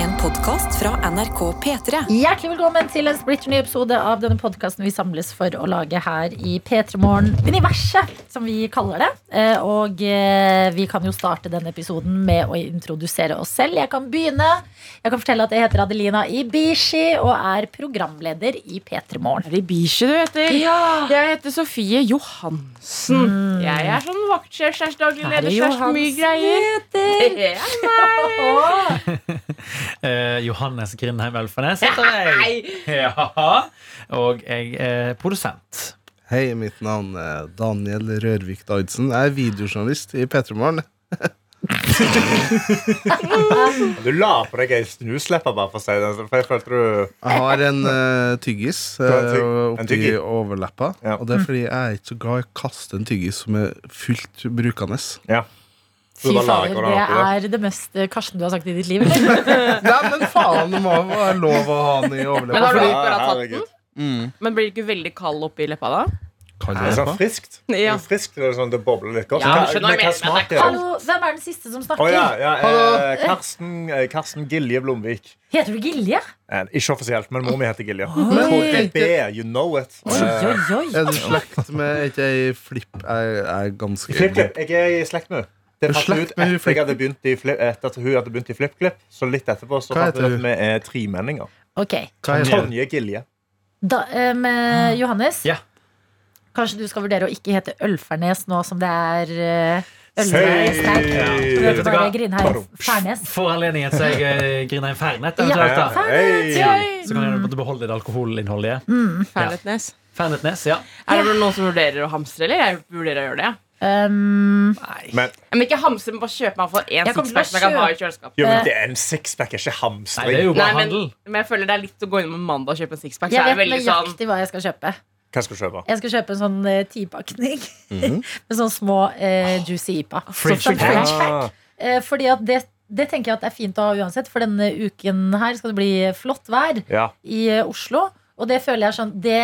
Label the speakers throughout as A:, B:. A: En podkast fra NRK P3.
B: Hjertelig velkommen til en splitter ny episode av denne podkasten vi samles for å lage her i P3 Morgen Universet, som vi kaller det. Eh, Og eh, vi kan jo starte denne episoden med å introdusere oss selv. Jeg kan begynne. Jeg kan fortelle at jeg heter Adelina Ibishi og er programleder i P3 Morgen.
C: Er det Bishi du heter? Jeg heter Sofie Johansen. Jeg er sånn vaktsjef slash daglig
B: Mm. Er det
C: leder slash mye
B: Johansen
C: greier. Det er meg.
D: Eh, Johannes Grindheim Elfenes heter jeg. Ja. Og jeg er produsent.
E: Hei, mitt navn er Daniel Rørvik Daidsen. Jeg er videojournalist i Petromorgen.
F: Du la på deg ei snuslepper, bare for å si det. altså, For jeg følte du
E: Jeg har en eh, tyggis eh,
F: Du har en tygg- en
E: oppi
F: tyggi?
E: overleppa.
F: Ja.
E: Og det er fordi jeg er ikke så glad i å kaste en tyggis som er fullt brukende.
F: Ja.
B: Fy
F: Så bare lager
B: fader,
F: du den
B: det
F: oppi
B: er det mest eh, Karsten du har sagt i ditt liv. eller?
E: Nei, men faen, det må være lov å ha den i
C: Men har
E: overleppa.
C: du
F: Ja,
C: akkurat tatt den?
F: herregud.
E: Mm.
C: Men blir du ikke veldig kald oppi leppa da?
E: Kan
F: Det er
E: jeg
F: sånn
E: leppa?
F: friskt. Det
C: Ja.
F: er friskt, det, er sånn, det bobler litt godt.
C: Ja,
F: Hva-
C: du skjønner
F: men
C: hva jeg
F: hva
C: mener, men
F: smaker det?
B: Hallo, hvem er den siste som
F: Å
B: snakker?
F: ja, ja eh, Karsten, eh, Karsten Gilje Blomvik.
B: Heter du Gilje?
F: Eh, ikke offisielt, men mor mi heter Gilje.
E: Men-
F: KGB, you know it.
B: Oi,
F: Eh,
B: oi, oi.
E: Er du i slekt med Er ikke ei flipp Jeg jeg er ganske
F: FlippKlipp. Jeg er i slekt med henne.
E: Du
F: Det
E: er
F: fant vi
E: slekt
F: ut
E: med hun
F: etter, jeg hadde begynt i flip, etter at hun hadde begynt i FlippKlipp. Så litt etterpå så
E: Hva
F: fant vi ut
E: heter
F: at
E: hun?
F: vi er tremenninger.
B: Ok.
E: Hva sånn? heter det?
F: Tonje Gilje.
B: Da, eh, med Johannes,
D: Ah. Ja.
B: kanskje du skal vurdere å ikke hete Ølfernes nå som det er eh,
F: Hei!
B: Ølfernes der. Du
D: Vet
B: heter
D: du
B: bare
D: hva?
B: Grindheim Fernes.
D: For anledningen så er jeg eh, Grindheim Fernet.
B: Ja.
D: eventuelt, da.
F: Hei!
D: Så kan jeg beholde det alkoholinnholdet.
C: Ferletnes.
D: Fernetnes, ja.
C: Er det noen som vurderer å hamstre, eller? Jeg vurderer å gjøre det. ja.
B: Um,
F: Men,
C: Men ikke hamstre, men bare kjøpe meg for én
B: Jeg kommer til å
C: sixpack som jeg kan ha i kjøleskapet.
F: jo, men det er en sixpack,
D: Nei,
F: ikke
D: det er
F: hamstring.
D: jo bare
C: Nei, men,
D: handel.
C: men jeg føler det er litt å gå inn på mandag og kjøpe en sixpack. Så
B: jeg
C: er det
B: vet
C: veldig sånn
B: nøyaktig hva jeg skal kjøpe.
F: Hva skal du kjøpe?
B: Jeg skal kjøpe en sånn eh, tipakning
D: Mhm.
B: med sånne små eh, juicy ipa.
D: Fridge
B: Sånn
D: pack.
B: French pack.
F: Ah.
B: Eh, fordi at det, det tenker jeg at det er fint å ha uansett, for denne uken her skal det bli flott vær.
F: Ja.
B: i eh, Oslo. Og det føler jeg er sånn Det,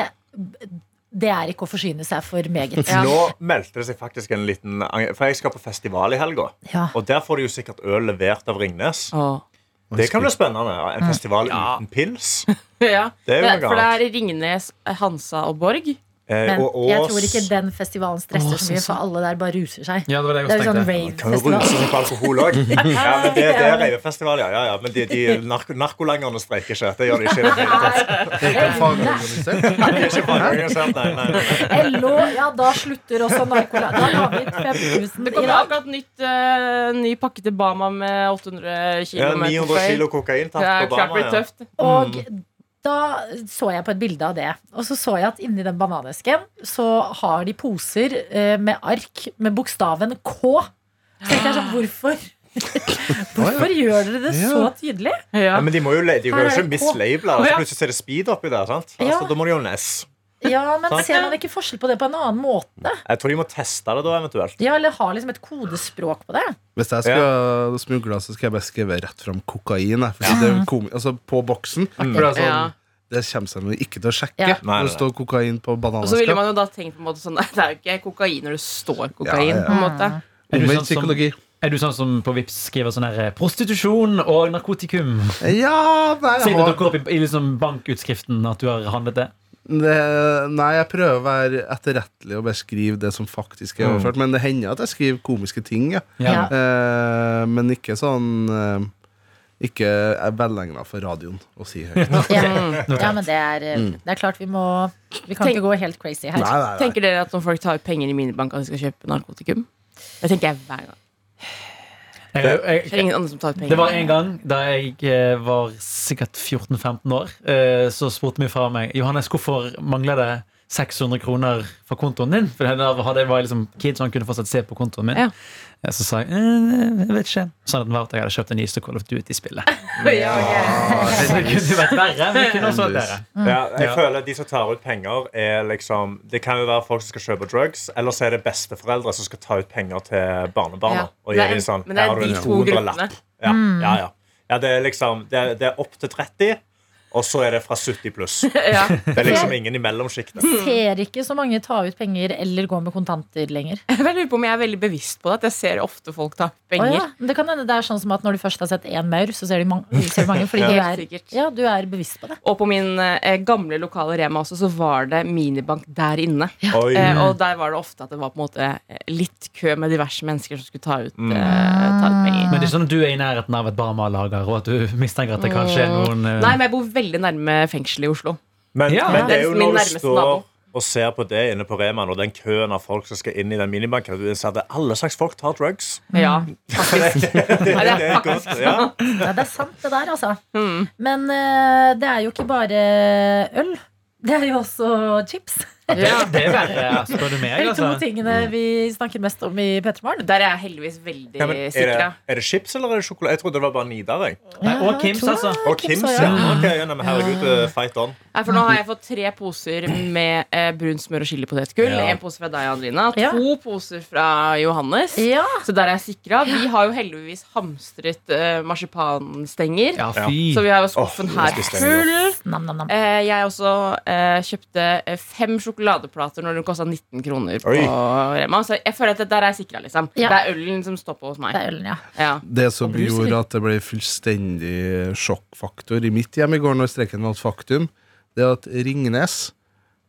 B: det er ikke å forsyne seg for meget.
F: Nå meldte det seg faktisk en liten For jeg skal på festival i helga.
B: Ja.
F: Og der får de jo sikkert øl levert av Ringnes.
C: Åh.
F: Det kan bli spennende. En festival
C: Ja.
F: uten pils.
C: Ja.
F: Det er jo
C: Men-
F: noe
C: For det
F: annet.
C: er Ringnes, eh, Hansa og Borg.
F: Eh,
B: Men
F: og
B: jeg
F: Ås
B: tror ikke den festivalen stresser så mye, for alle der bare ruser seg.
D: Ja, det var det
B: altså. Det er
D: jeg
B: jo
D: også
B: sånn
D: tenkte.
F: kan jo ruse
B: rave-festival.
F: seg på alkohol òg. Ja, men det, det er revefestival, ja. ja, ja. Men de, de narko narkolangerne streiker ikke. Det gjør de ikke. i Det hele tatt.
E: Er ikke en fagorganisert?
F: De er ikke fagorganisert, nei, nei, nei.
B: LO, ja, da slutter også narkola. Da har vi 5000
C: Det
B: i dag.
C: kommer akkurat nytt, eh, ny pakke til Bama med 800
F: Ja,
C: kilo. med
F: 900
C: kokain.
F: kilo kokain
C: Det
F: tatt
C: er
F: på
C: klart blir
F: Bama. Ja.
C: tøft.
B: Og da så jeg på et bilde av det. Og så så jeg at inni den bananesken så har de poser eh, med ark med bokstaven K. Så tenkte jeg sånn, hvorfor? Hvorfor gjør dere det så tydelig?
C: Ja.
F: Ja, men de må jo, le- de kan jo
B: Her er
F: ikke
B: det K.
F: mislabele.
C: Å, ja.
F: Så plutselig er det speed oppi der. sant? Altså,
B: Ja.
F: Da må de jo ness.
B: Ja, men
F: Sant?
B: ser man ikke forskjell på det på en annen måte?
F: Jeg tror de må teste det da, eventuelt.
B: Ja, eller har liksom et kodespråk på det?
E: Hvis jeg skal smugle, så skal jeg bare skrive rett fram kokain. jeg, Fordi det er komi altså, på boksen. For det er sånn
C: ja.
E: Det kommer seg nå ikke til å sjekke.
B: Ja.
F: Nei,
E: Når det
F: nei.
E: står kokain på
C: Og så ville
E: bananeskap.
C: man jo da tenkt på en måte sånn Nei, det er jo ikke kokain når det står kokain.
E: Ja, ja.
C: på en måte
D: Er du
E: Omvendt
D: sånn som-
E: psykologi.
D: Er du sånn som på Vips skriver sånn her eh, prostitusjon og narkotikum?
E: Ja, nei jeg,
D: Sier det
E: har,
D: dukker opp i, i liksom bankutskriften at du har handlet det?
E: det, nei, jeg prøver å være etterrettelig og bare skrive det som faktisk er overført. Men det hender at jeg skriver komiske ting, ja.
B: Ja.
E: Eh, men ikke sånn eh, Ikke er velegna for radioen å si høyt. Nei,
B: Ja, ja men det er, eh, det er klart vi må Vi kan ikke gå helt crazy her.
E: nei, nei.
C: Tenker dere at når folk tar ut penger i minibank, at de skal kjøpe narkotikum? Det tenker jeg hver gang.
D: Jeg, jeg,
C: Det er ingen andre som tar ut penger.
D: Det var en gang da jeg eh, var sikkert 14-15 år, eh, så spurte min far meg Johannes, hvorfor mangler det 600 kroner fra kontoen din? For da hadde jeg var jeg liksom kid, så han kunne fortsatt se på kontoen min.
C: Ja.
D: Eh, Så sa jeg eh, jeg vet ikke. Sånn at den var at jeg hadde kjøpt det nyeste Call of Duty-spillet.
C: ja, ok.
D: Så det kunne jo vært verre. Men det kunne også vært bedre.
F: Ja, jeg
D: Ja.
F: føler at De som tar ut penger, er liksom Det kan jo være folk som skal kjøpe drugs, eller så er det besteforeldre som skal ta ut penger til barnebarna.
C: Ja. Det er
F: Og gi
C: en-
F: dem sånn
C: men det er
F: Her har du
C: de
F: en
C: to Mm.
F: 200 lapp.
C: gruppene.
F: Ja, ja, ja. ja det er liksom Det er, det er opp til 30. Og så er det fra 70 pluss.
C: Ja.
F: Det er liksom ingen i mellomsjiktet.
B: Ser ikke så mange ta ut penger eller gå med kontanter lenger.
C: Jeg lurer på om jeg er veldig bevisst på det. At jeg ser ofte folk ta
B: Å
C: penger.
B: ja. Men det kan hende det er sånn som at når du først har sett én maur, så ser du mange. Ser du mange fordi du,
C: Helt
B: er,
C: sikkert.
B: ja, du er bevisst på det.
C: Og på min eh, gamle lokale Rema også, så var det minibank der inne.
F: Oi.
C: Eh,
D: Mm.
C: og der var det ofte at det var på en måte eh, litt kø med diverse mennesker som skulle ta ut, eh, ta
B: Mm.
C: ut penger.
D: Men det er ikke sånn at du er i nærheten av et barmalager, og at du mistenker at det kanskje er noen eh,
C: Nei, men jeg bor veldig nærme fengselet i Oslo.
F: Men,
D: Ja.
F: men det
C: Det
F: er
C: er
F: jo
C: min
F: når du
C: nærmeste
F: står
C: nabo.
F: og ser på det inne på Reman, og den køen av folk som skal inn i den minibanken, og du innser at det er alle slags folk tar drugs.
C: Ja,
B: Mm.
C: faktisk. Nei, det er faktisk
F: Ja.
B: Ja, det er sant, det der, altså. Men eh, det er jo ikke bare øl. Det er jo også chips.
C: ja.
D: Det er verre, spør du meg.
B: De to
D: Altså.
B: tingene vi snakker mest om i P3 Morgen.
C: Der er jeg heldigvis veldig
F: Ja, men er, det,
C: sikra.
F: er det chips eller er det sjokolade? Jeg trodde det var bare Nidar. jeg.
D: Nei, og Kims,
B: tror jeg.
D: altså.
F: Og Kims,
B: også,
F: ja. Ok, ja, nei, men herregud, eh, fight on.
C: Nei, for nå har jeg fått tre poser med eh, brun smør og chilipotetgull.
F: Ja.
C: En pose fra deg, Adelina.
B: Ja.
C: To poser fra Johannes.
B: Ja.
C: Så der er jeg sikra. Vi har jo heldigvis hamstret eh, marsipanstenger.
D: Ja, fy.
C: Så vi har jo skuffen
F: Åh,
C: her
F: jeg spiste den
C: full.
B: Nam, nam, nam.
C: Eh, jeg også eh, kjøpte eh, fem sjokoladeplater når den kosta 19 kroner på
F: Oi.
C: Rema. Så jeg føler at det der er jeg sikra, liksom.
B: Ja.
C: Det er ølen som står på hos meg.
B: Det er ølen, ja.
C: Ja.
E: Det som
B: brusen.
E: gjorde at det ble fullstendig sjokkfaktor i mitt hjem i går, når streken var et faktum, det er at Ringnes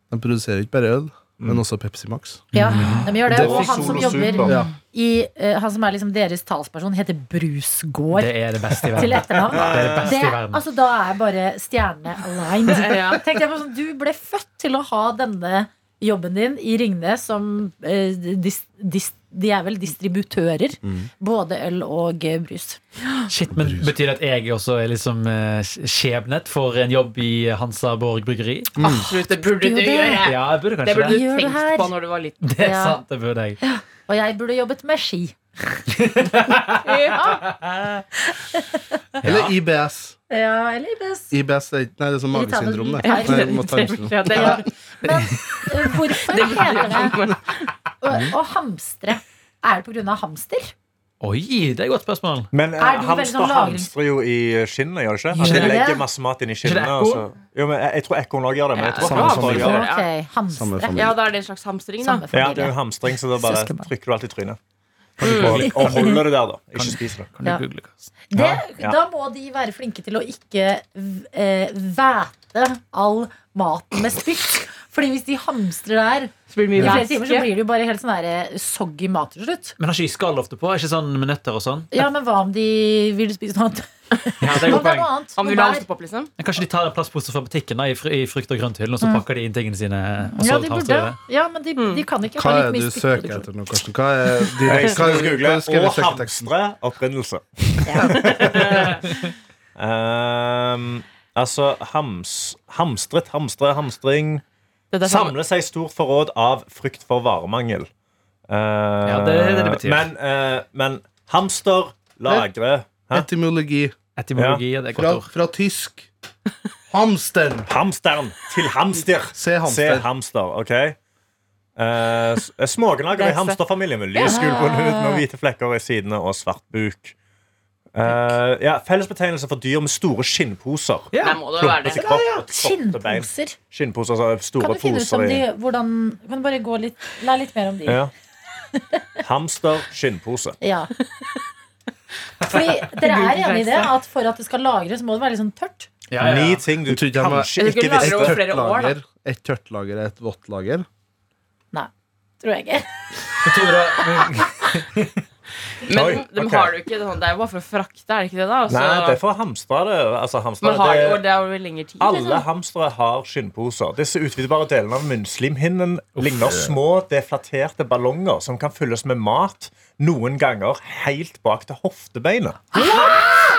E: de produserer ikke bare øl, men også Pepsi Max.
B: ja.
D: Mm.
B: De gjør det.
F: Det
B: Og
F: fikk
B: han
F: sol
B: som
F: og
B: jobber
F: sol, da.
E: Ja.
B: i eh, Han som er liksom deres talsperson, heter Brusgård
D: Det er det beste i
B: til
D: verden.
B: etternavn.
D: Det er det beste
B: Det,
D: i verden.
B: altså, da er jeg bare stjerne aligned.
C: Ja.
B: Tenkte jeg på sånn, Du ble født til å ha denne jobben din i Ringnes som eh, dis, dis, De er vel distributører.
D: Mm.
B: Både øl og eh, brus.
D: Shit, men Betyr det at jeg også er liksom eh, skjebnet for en jobb i Hansa Borg bryggeri?
F: Mm.
C: Absolutt, det burde du
B: det.
C: gjøre.
D: Ja, jeg
C: Det
D: burde kanskje
C: burde du
D: det.
B: Gjør det
C: tenkt
B: her.
C: på når du var liten.
D: Det er
B: Ja.
D: sant, det burde jeg.
B: Og jeg burde jobbet med ski.
C: Ja.
E: Eller IBS.
B: Ja, eller IBS.
E: IBS er ikke Nei, det er sånn
B: Irritabel
E: magesyndrom, det.
B: bipær.
E: Nei, må ta
C: det,
E: en stund.
C: ja, det,
B: Ja. Men eh, hvorfor heter det å, å hamstre? Er det pga. hamster?
D: Oi, det er et godt spørsmål.
F: Men eh,
B: Er du veldig
F: hamster
B: sånn lagrings-
F: hamstrer jo i skinnene, gjør det ikke?
B: Gjør
F: Altså, de
B: det?
F: legger masse mat inn i
D: det
F: skinnene. Og
D: ekko?
F: så. Jo, men jeg, jeg tror ekorn òg gjør det. Men
C: Ja,
F: jeg tror
E: samme
F: hamster
E: familie.
F: også gjør det.
B: Ok,
E: Samme
B: hamstre.
E: familie.
C: ja, da er det en slags hamstring, da.
B: Samme
F: Ja, det er
B: familie.
F: jo hamstring, så da bare
B: Søskenbarn.
F: trykker du alt i trynet. Og, og holder det der, da. Ikke spis det.
D: Kan du
B: Ja.
D: google Karsten?
B: Det,
F: Ja.
B: da må de være flinke til å ikke eh, væte all maten med spytt. Fordi hvis de hamstrer der
C: Så blir det
B: i
C: mye
B: flere timer, så
C: væske.
B: blir det jo bare helt sånn der, eh, soggy mat til slutt.
D: Men har ikke de skall ofte på? Er ikke sånn med nøtter og sånn?
B: Ja, men hva om de vil spise noe annet?
D: Ja, det er
B: Hva om det er
D: et godt poeng.
B: noe annet?
C: Om
B: Noe
C: du vil ha
B: bær?
C: ostepop, liksom?
D: Men Kanskje de tar en plastpose fra butikken da, i, fr i frukt- og grønthyllen, og så pakker de inn tingene sine. Og så
B: Mm. Ja, de
D: tar
B: burde.
D: styret.
B: Ja, men de, de kan ikke. ha
E: Hva er
B: like
E: det
B: mye
E: du
B: spytt.
E: søker etter nå, Karsten? Hva er din
F: Jeg skal google
E: skal
F: og
E: vi søke teksten?
F: hamstre opprinnelse. Ehm, altså hams, Hamstret, hamstre, hamstring.
C: Det er sånn-
F: Samle seg stort forråd av frykt for varemangel. Eh,
D: det er det det betyr.
F: Men, eh, men hamster lagre Hæ?
E: Etymologi.
D: Etymologi, ja. det er et
E: Fra,
D: godt ord.
E: fra tysk. Hamsteren.
F: Hamsteren til hamster.
E: Se
F: Se
E: hamster.
F: hamster, OK? Eh, s- Smågnager i hamsterfamilien med lys gul bunnhud med hvite flekker i sidene og svart buk. Eh, ja, Fellesbetegnelse for dyr med store skinnposer.
C: Der
D: Ja.
C: må det jo være
F: Plukkes i
C: det.
F: kropp, kropp og bein.
B: Skinnposer.
F: Skinnposer, altså
B: Kan
F: store
B: du finne ut
F: poser
B: om de,
F: i
B: hvordan Kan du bare gå litt Lær litt mer om de.
F: ja. Hamster, skinnpose.
B: Ja. Fordi dere er enig i det, at for at det skal lagres, må det være litt sånn tørt.
D: Ja, ja,
F: Ni
D: ja.
F: ting du
E: Jeg trodde jeg var-
F: kanskje
C: Jeg
F: ikke
C: skulle lagre
F: visste.
C: over
E: Et
C: flere
E: tørt
C: år, da.
E: lager, et tørt lager er et vått lager.
B: Nei, tror jeg ikke.
D: Men tror du da-
C: Men
F: Oi,
C: de
F: ok.
C: har det jo ikke. sånn, Det er jo bare for å frakte, er det ikke det? da? Og så-
F: Nei, det er for å hamstre det. Altså, hamstre,
C: Altså- men har det, og
F: det
C: det er jo lengre tid.
F: alle
C: Liksom.
F: hamstere har skinnposer. Disse utvidbare delene av munnslimhinnen ligner små, deflaterte ballonger som kan fylles med mat, noen ganger helt bak til hoftebeinet.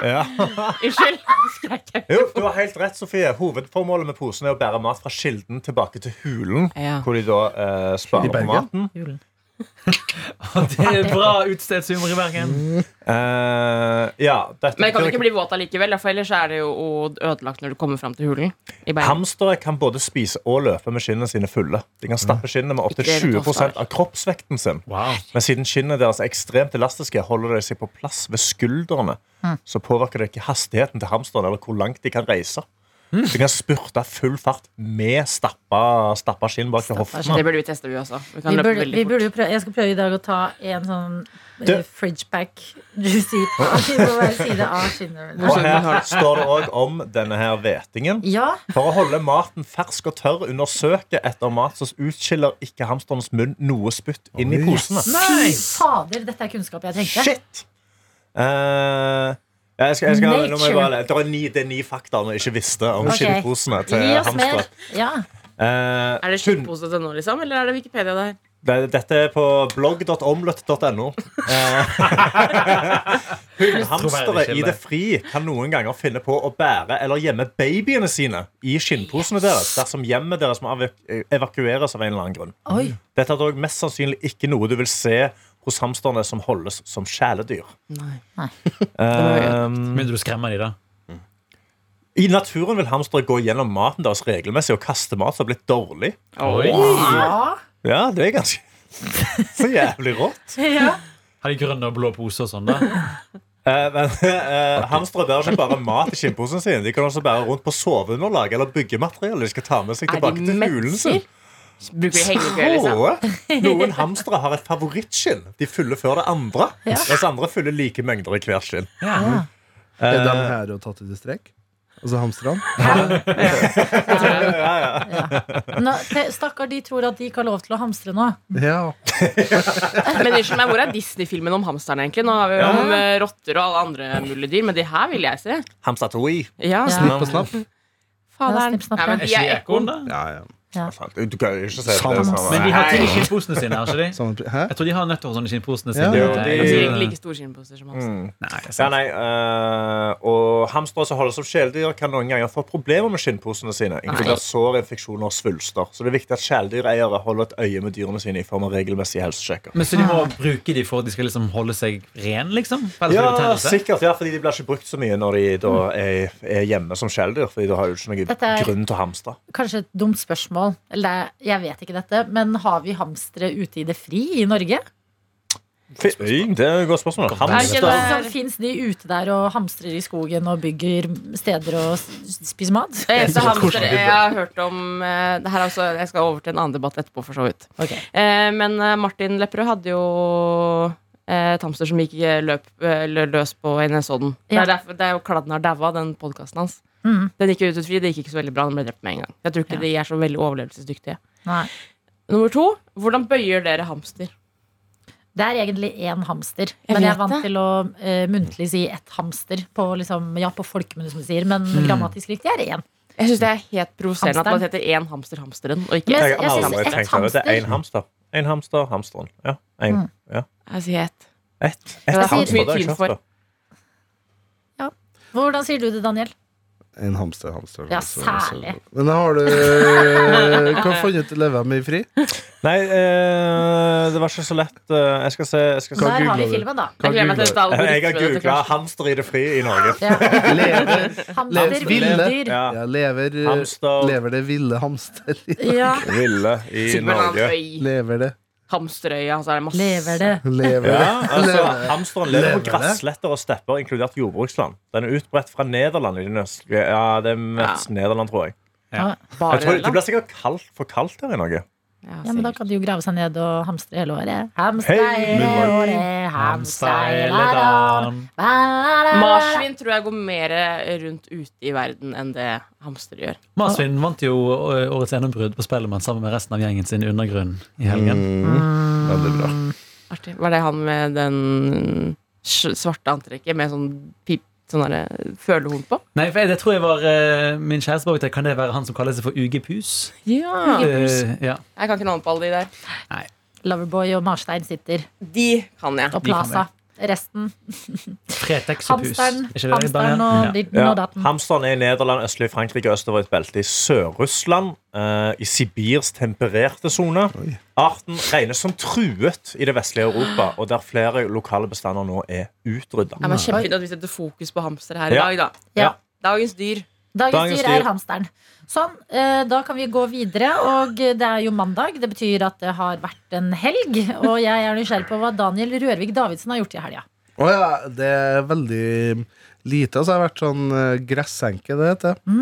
F: Ja.
C: Unnskyld. skrek jeg.
F: Jo, du har helt rett, Sofie. Hovedformålet med posen er å bære mat fra kilden tilbake til hulen,
C: Ja.
F: hvor de da eh,
E: I
F: sparer på
E: Bergen?
F: maten.
D: Det er bra utstedshumor i Bergen.
F: Eh, ja, dette
C: Men det kan
F: betyr
C: ikke bli våt allikevel, da, for ellers er det jo ødelagt når du kommer fram til hulen. I Bergen.
F: Hamstere kan både spise og løpe med skinnene sine fulle. De kan stappe skinnene med opptil
C: Ikke det er et
F: 20 av kroppsvekten sin.
D: Wow.
F: Men siden skinnene deres er ekstremt elastiske, holder de seg på plass ved skuldrene. Så påvirker det ikke hastigheten til hamsteren eller hvor langt de kan reise. Så du kan spurte full fart med stappa, stappa skinn bak til
B: Stappa
F: hoften.
B: skinn.
C: Det burde vi teste, vi også. Vi kan
B: Vi
C: løpe
B: burde,
C: veldig
B: vi
C: fort.
B: burde jo prøve, jeg skal prøve i dag å ta en sånn eh,
F: Du-
B: fridge pack juicy på hver side av
F: Og
B: skinnene.
C: Hvor-
F: her står det òg om denne her hvetingen.
B: Ja,
F: For å holde maten fersk og tørr under søket etter mat, så utskiller ikke hamsterens munn noe spytt inn i
E: Oi.
F: posene.
B: fy fader, dette er kunnskap jeg trengte.
F: Shit! Eh, jeg skal, jeg skal, nå må jeg bare,
B: Nature.
F: det, er ni, det er ni fakta vi ikke visste om
B: Ok.
F: skinnposene til
B: Gi oss
F: hamstere.
B: mer. Ja.
F: Eh,
C: Er det skinnpose til nå, liksom? Eller er det Wikipedia det her?
F: Det- Dette er på blogg.omløtt.no. Hunnhamstere i det fri kan noen ganger finne på å bære eller gjemme babyene sine i skinnposene deres dersom hjemmet deres må evaku- evakueres av en eller annen grunn.
B: Oi.
F: Dette er dog mest sannsynlig ikke noe du vil se hos hamsterne som holdes som kjæledyr.
B: Nei.
F: Um,
D: Begynner du å skremme de da?
F: I naturen vil hamstere gå gjennom maten deres regelmessig og kaste mat som har blitt dårlig.
D: Oi.
B: Ja.
F: Ja, det er ganske Så jævlig rått.
B: ja.
D: Har de grønn og blå pose og sånn, da?
F: Eh, men eh, Hamstere bærer ikke bare mat i skinnposen sin. De kan også bære rundt på soveunderlag eller byggemateriale de skal ta med seg
C: Er
F: tilbake
C: de
F: til hulen sin.
C: mennesker? Bruker de hengekøye, liksom?
F: Rå. Noen hamstere har et favorittskinn. De fyller før det andre. Mens andre fyller like mengder i hvert skinn.
E: Er de her og tatt ut i strek? Altså hamstrene?
B: Nå, te- Stakkar, de tror at de ikke har lov til å hamstre nå.
E: Ja.
C: Men unnskyld meg, hvor er Disney-filmen om hamsteren, egentlig? Nå har vi jo om eh, rotter og alle andre mulige dyr, men de her vil jeg se.
F: Hamstatoi.
B: Ja.
C: Ja,
E: Snipp og snapp?
B: Ja,
C: faderen.
B: snipp, snapp,
C: Nei, men
D: Er
C: de
D: ikke
C: er ekorn.
D: ekorn, da?
E: Ja, ja.
F: Du kan jo ikke si det.
E: Samme.
F: samme.
D: Men de har ting i skinnposene sine, har ikke de?
E: Samme pri- Hæ?
D: Jeg tror de har nøtter og sånn i skinnposene
E: Sånn. Ja,
D: sine.
E: Jo,
C: De
F: de-
C: gir ikke like store skinnposer som hamster.
F: Mm.
D: Nei,
F: Ja,
D: sant.
F: nei, eh, og Hamstere som holder som kjæledyr, kan noen ganger få problemer med skinnposene sine. Inkludert sår, infeksjoner og svulster. Så det er viktig at kjæledyreiere holder et øye med dyrene sine i form av regelmessige helsesjekker.
D: Men Så de må bruke de for at de skal liksom holde seg ren, liksom? For ellers blir det
F: Ja,
D: betennelse?
F: sikkert, ja, fordi de blir ikke brukt så mye når de da er, er hjemme som kjæledyr. Fordi da har du ikke noen
B: Dette er-
F: grunn til å hamstre.
B: Kanskje et dumt spørsmål. Eller det, er- jeg vet ikke dette, men har vi hamstere ute i det fri i Norge?
F: Fy- Det er et godt
C: Er
F: spørsmål.
C: ikke
F: Hamster.
C: det-
B: Sånn, Fins de ute der og hamstrer i skogen og bygger steder og s- spiser mat?
C: Det eneste hamster jeg har hørt om eh, det her er også, Jeg skal over til en annen debatt etterpå, for så vidt.
B: Ok.
C: Eh, Men eh, Martin Lepperød hadde jo eh, et hamster som gikk eh, løp, eh, lø- løs på i Nesodden. Det,
B: Ja.
C: er derfor, det er jo Kladden har daua, den podkasten hans.
B: Mhm.
C: Den gikk jo ut ut fri, det gikk ikke så veldig bra. Den ble drept med en gang. Jeg tror
B: Ja.
C: ikke de er så veldig overlevelsesdyktige.
B: Nei.
C: Nummer to, hvordan bøyer dere hamster?
B: Det er egentlig én hamster.
C: Jeg
B: men jeg
C: vet
B: er vant
C: det.
B: til å eh, muntlig si ett hamster. På, liksom, ja, på folkemunne, som de sier. Men
C: Hmm.
B: grammatisk riktig er én.
C: Jeg syns det er helt provoserende at man
B: Hamsteren.
C: heter én hamster hamsteren, og ikke
B: Men-
F: Jeg
B: Jeg
F: har
B: synes
F: aldri
B: et
F: tenkt over det. Det er én
B: hamster-
F: hamster. Én hamster, hamsteren. Ja. En, ja.
C: Altså, Jeg sier ett.
F: Ett.
C: Det
F: Et
C: er
F: hamster,
C: mye
F: det har jeg
C: tvil
F: ikke
C: for.
F: hørt før.
B: Hvordan sier du det, Daniel?
E: En hamster, hamster.
B: Ja,
E: hamster, hamster.
B: særlig.
E: Men har du Hva fant du leve med i fri?
F: Nei, eh, det var ikke så lett. Eh, Jeg skal se. Jeg, skal se.
E: Hva
B: Der har vi
E: googler du?
B: filmen, da.
C: Jeg gleder meg til dette
F: jeg har
C: algoritmet.
F: googla 'hamster i det fri' i Norge.
B: Ja.
E: Lever,
B: Hamster,
E: Lev-
B: villdyr.
F: Ja.
E: ja, lever,
F: Hamster.
E: lever det ville hamster?
B: Ja.
F: Ville i Norge.
C: Norge.
E: Lever det?
C: Hamsterøya, så er det masse
B: Lever det?
E: Lever det?
F: Ja, altså,
E: Lever det?
F: hamsteren lever
E: Lever
F: på
E: det?
F: grassletter og stepper, inkludert jordbruksland. Den er utbredt fra Nederland. i det nøst- Ja, det er mest Nederland, tror jeg.
C: bare
F: jeg tror, det
C: land.
F: blir sikkert kaldt, for kaldt her i Norge.
C: Ja,
B: Ja, men Da
C: sikkert.
B: kan de jo grave seg ned og hamstre hele året.
F: Hei,
B: Hamstre
F: Munnvarp.
B: året, hamstre hele dagen.
D: Hamsteiledan.
C: Marsvin tror jeg går mer rundt ute i verden enn det hamstere gjør.
D: Marsvin vant jo ø, årets gjennombrudd på Spellemann sammen med resten av gjengen sin i Undergrunn i
E: Mm.
D: helgen.
E: Veldig bra.
C: Artig. Var det han med den sj- svarte antrekket med sånn pip Sånn der, eh, følehorn på?
D: Nei, for jeg, det tror jeg var ø, min kjæreste bak det. Kan det være han som kaller seg for UG Pus?
C: Ja. Jeg
D: Eh, ja.
C: kan ikke navnet på alle de der.
B: Loverboy og Marstein sitter.
C: De kan jeg.
B: Og Plaza. Resten.
D: Fretex og Pus.
B: Hamsteren,
D: Er ikke det det
B: hamsteren
D: bare-
B: og
D: ja.
B: ditten og datten.
F: Hamsteren er i Nederland, østlig Frankrike og østover et belte i Sør-Russland. eh, I Sibirs tempererte sone. Arten regnes som truet i det vestlige Europa, og der flere lokale bestander nå er utrydda.
C: Ja, men Kjempefint at vi setter fokus på hamstere her i
F: Ja.
C: dag, da.
B: Ja.
C: Dagens dyr.
B: Dagens,
F: Dagens
B: dyr
F: dyr.
B: er hamsteren. Sånn, eh, Da kan vi gå videre. Og det er jo mandag. Det betyr at det har vært en helg. Og jeg er nysgjerrig på hva Daniel Rørvik Davidsen har gjort i helga.
E: Å ja, det er veldig Lite altså, jeg har vært sånn eh, gressenke, det heter det. Eh,